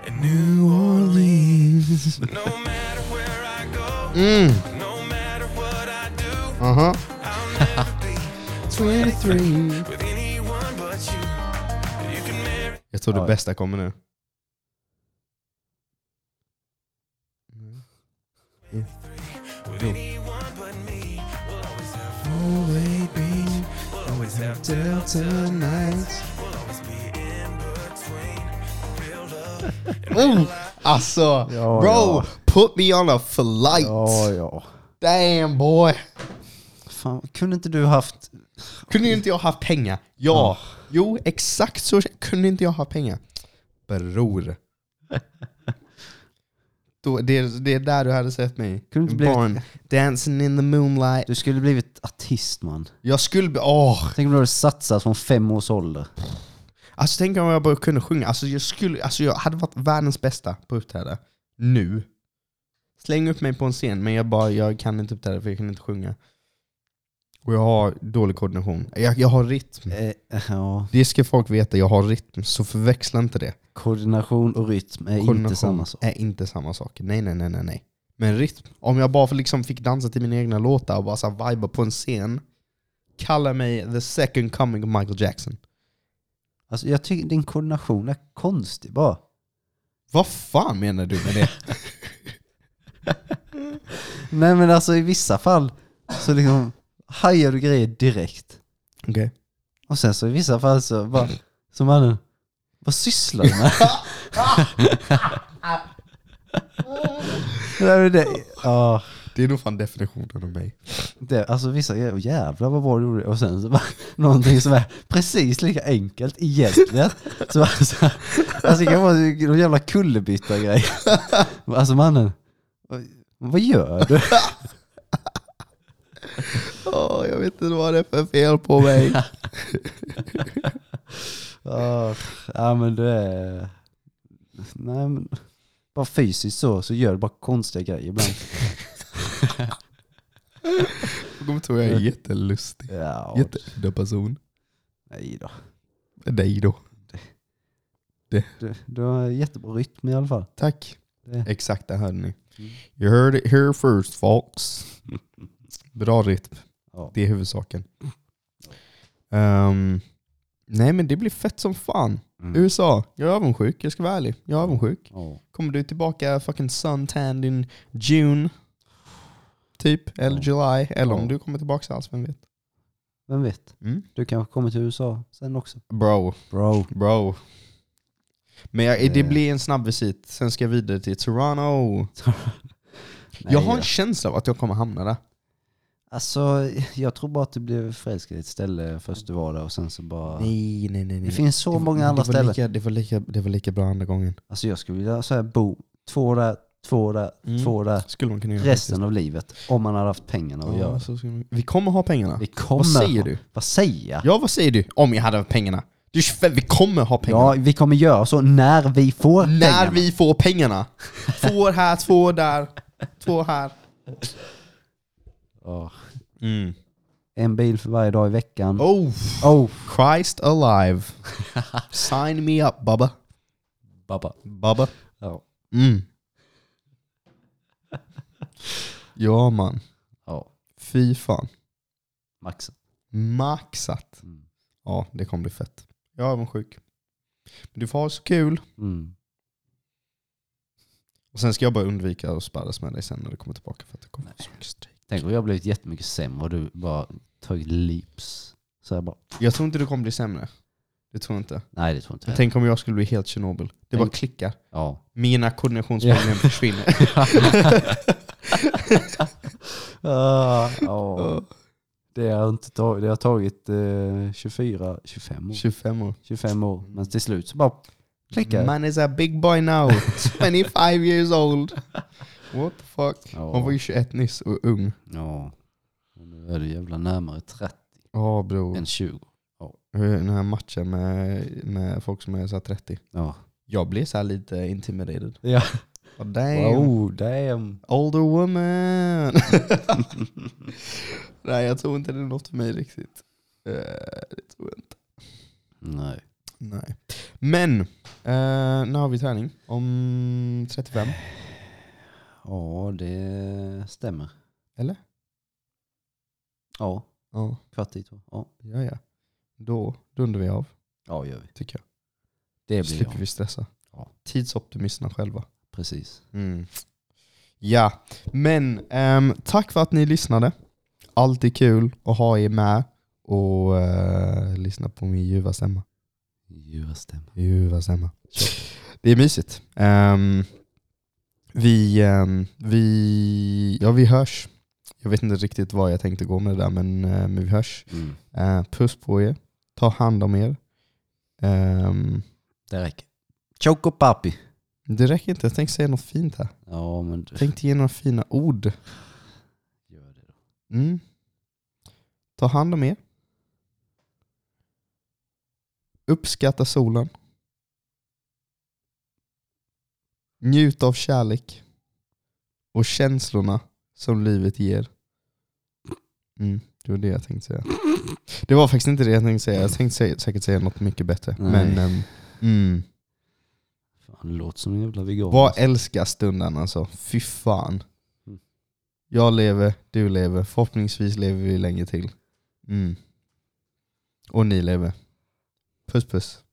S6: In New Orleans. no matter where I go,
S2: Mm.
S6: no matter what I do,
S2: Aha.
S6: I'll never be
S2: 23.
S6: with anyone but you. You can marry
S2: Jag tror det
S3: Ja.
S2: bästa kommer nu.
S6: with anyone but me. We'll always have Foley Beach. We'll always have Delta nights. We'll always be in between. Real love.
S2: Oh, alltså,
S3: Ja,
S2: bro,
S3: ja.
S2: put me on a flight.
S3: Ja, ja.
S2: Damn boy.
S3: Fan, kunde inte du haft...
S2: Kunde inte jag haft pengar?
S3: Ah.
S2: Ja. Jo, exakt så kunde inte jag haft pengar. Bror. Då, det, det är där du hade sett mig.
S3: Kunde inte blivit-
S2: Barn, dancing in the moonlight.
S3: Du skulle blivit artist man.
S2: Jag skulle... bli- Åh!
S3: Tänk om du hade satsat från fem års ålder.
S2: Alltså tänk om jag bara kunde sjunga. Alltså jag, skulle, alltså jag hade varit världens bästa på att uppträda. Nu. Släng upp mig på en scen, men jag bara, jag kan inte uppträda för jag kan inte sjunga. Och jag har dålig koordination. Jag, jag har rytm.
S3: Eh, ja.
S2: Det ska folk veta, jag har rytm. Så förväxla inte det.
S3: Koordination och rytm är inte
S2: Koordination
S3: samma sak.
S2: är inte samma sak. Nej, nej, nej, nej, nej. Men rytm. Om jag bara liksom fick dansa till mina egna låtar och bara så här viba på en scen. Kalla mig the second coming of Michael Jackson.
S3: Alltså, jag tycker din koordination är konstig bara.
S2: Vad fan menar du med det?
S3: Nej men alltså i vissa fall så liksom hajar du grejer direkt.
S2: Okej.
S3: Och sen så i vissa fall så bara, som mannen, vad sysslar du med? Nej, men det, ja,
S2: Det är nog fan definitionen av mig.
S3: det, alltså vissa grejer, "Åh, jävlar vad bra du gjorde. Och sen så bara, någonting som är precis lika enkelt egentligen. Så, bara så här, alltså det kan vara någon jävla kullerbytta-grej. Alltså mannen, vad- vad gör du?
S2: Åh, jag vet inte vad det är för fel på mig.
S3: Ja, ja men det är... Nej men... Bara fysiskt så, så gör du bara konstiga grejer ibland.
S2: Jag kommer tro jag är jättelustig.
S3: Ja,
S2: Jätteudda person.
S3: nej då.
S2: Dig då.
S3: Du, du har jättebra rytm i alla fall.
S2: Tack.
S3: Det-
S2: Exakt, det hörde ni. You heard it here first folks. Bra rytm.
S3: Ja.
S2: Det är huvudsaken. Ehm, nej men det blir fett som fan. USA, jag är avundsjuk. Jag ska vara ärlig. Jag är avundsjuk.
S3: Ja.
S2: Kommer du tillbaka fucking suntanned in June? Typ, eller July. Eller om
S3: Ja.
S2: du kommer tillbaka alls, vem vet?
S3: Vem vet,
S2: Mm.
S3: du kanske kommer till USA sen också.
S2: Bro,
S3: Bro.
S2: bro. Men jag, det
S3: Eh.
S2: blir en snabb visit, sen ska jag vidare till Toronto.
S3: Nej,
S2: jag har en
S3: då.
S2: känsla av att jag kommer hamna där.
S3: Alltså jag tror bara att du blev förälskad i ett ställe först du var där och sen så bara...
S2: Nej, nej, nej. nej.
S3: Det finns så
S2: var-
S3: många andra
S2: det var
S3: ställen.
S2: Lika, det, var lika, det var lika bra andra gången.
S3: Alltså jag skulle vilja så här, bo två där, två där,
S2: Mm.
S3: två där.
S2: Skulle man kunna göra
S3: Resten av livet. Om man hade haft pengarna att
S2: faktiskt. ja,
S3: göra.
S2: så skulle man- Vi kommer ha pengarna.
S3: Vi kommer...
S2: Vad säger du?
S3: Vad säger jag?
S2: Ja, vad säger du? Om jag hade haft pengarna. Du är 25, vi kommer ha pengarna.
S3: Ja, vi kommer göra så när vi får
S2: När
S3: pengarna.
S2: vi får pengarna. Två här, två där, två här.
S3: Ja.
S2: Mm.
S3: En bil för varje dag i veckan. Oh.
S2: Oh, Christ alive. Sign me up, Bubba.
S3: Babba.
S2: Bubba.
S3: Ja.
S2: Mm. Ja man,
S3: ja,
S2: fy fan.
S3: max.
S2: Maxat.
S3: Mm.
S2: Ja, det kommer bli fett. Jag är avundsjuk. Men du får ha så kul.
S3: Mm.
S2: Och sen ska jag bara undvika att sparras med dig sen när du kommer tillbaka för att det kommer så mycket stryk.
S3: Tänk om jag har blivit jättemycket sämre och du bara tagit lips. Så jag bara,
S2: Jag tror inte du kommer bli sämre. Det tror jag inte.
S3: nej det tror inte jag.
S2: Tänk om jag skulle bli helt Tjernobyl. Det bara klickar.
S3: Ja.
S2: Mina koordinationsproblem försvinner.
S3: Ah, ja. Det har jag inte tagit, det har tagit eh, 24, 25 år.
S2: 25 år.
S3: 25 år. Men till slut så bara klickar det.
S2: Man is a big boy now. 25 years old. What the fuck?
S3: Ja.
S2: Hon var ju 21 nyss och ung.
S3: Ja. Men Nu är du jävla närmare 30
S2: Ja bror.
S3: än 20.
S2: Hur- Den här matchen med, med folk som är så här 30.
S3: Ja.
S2: Jag blir så här lite intimidated.
S3: Ja.
S2: Oh, damn.
S3: Wow, damn.
S2: Older woman! Nej jag tror inte det är något för mig riktigt. Eh, det tror jag inte.
S3: Nej.
S2: Nej. Men, eh, när har vi träning? Om 35?
S3: Ja, det stämmer.
S2: Eller?
S3: Ja,
S2: Ja,
S3: kvart i två. Ja,
S2: ja. ja. Då dundrar vi av,
S3: ja gör vi.
S2: tycker jag.
S3: Det
S2: Då
S3: blir
S2: slipper
S3: jag.
S2: vi stressa.
S3: Ja.
S2: Tidsoptimisterna själva.
S3: Precis.
S2: Mm. Ja, men ehm, tack för att ni lyssnade. Alltid kul att ha er med och eh, lyssna på min ljuva stämma.
S3: Djura stämmer.
S2: Ljuva stämma. Det är mysigt. Ehm, vi, ehm, vi, ja, vi hörs. Jag vet inte riktigt vad jag tänkte gå med det där, men, eh, men vi hörs.
S3: Mm.
S2: Eh, puss på er. Ta hand om er. Ehm,
S3: Det räcker. Choco papi.
S2: det räcker inte, jag tänkte säga något fint här.
S3: Ja, men du.
S2: Jag tänkte ge några fina ord.
S3: Gör det då.
S2: Mm. Ta hand om er. Uppskatta solen. Njut av kärlek och känslorna som livet ger. Mm, det var det jag tänkte säga. Det var faktiskt inte det jag tänkte säga. Jag tänkte säga, säkert säga något mycket bättre.
S3: Nej.
S2: Men ehm, mm.
S3: Fan, det låter som en jävla vegan.
S2: Vad älskar stunden alltså. Fy fan.
S3: alltså. Mm.
S2: Jag lever, du lever, förhoppningsvis lever vi länge till. Mm. Och ni lever. Puss puss.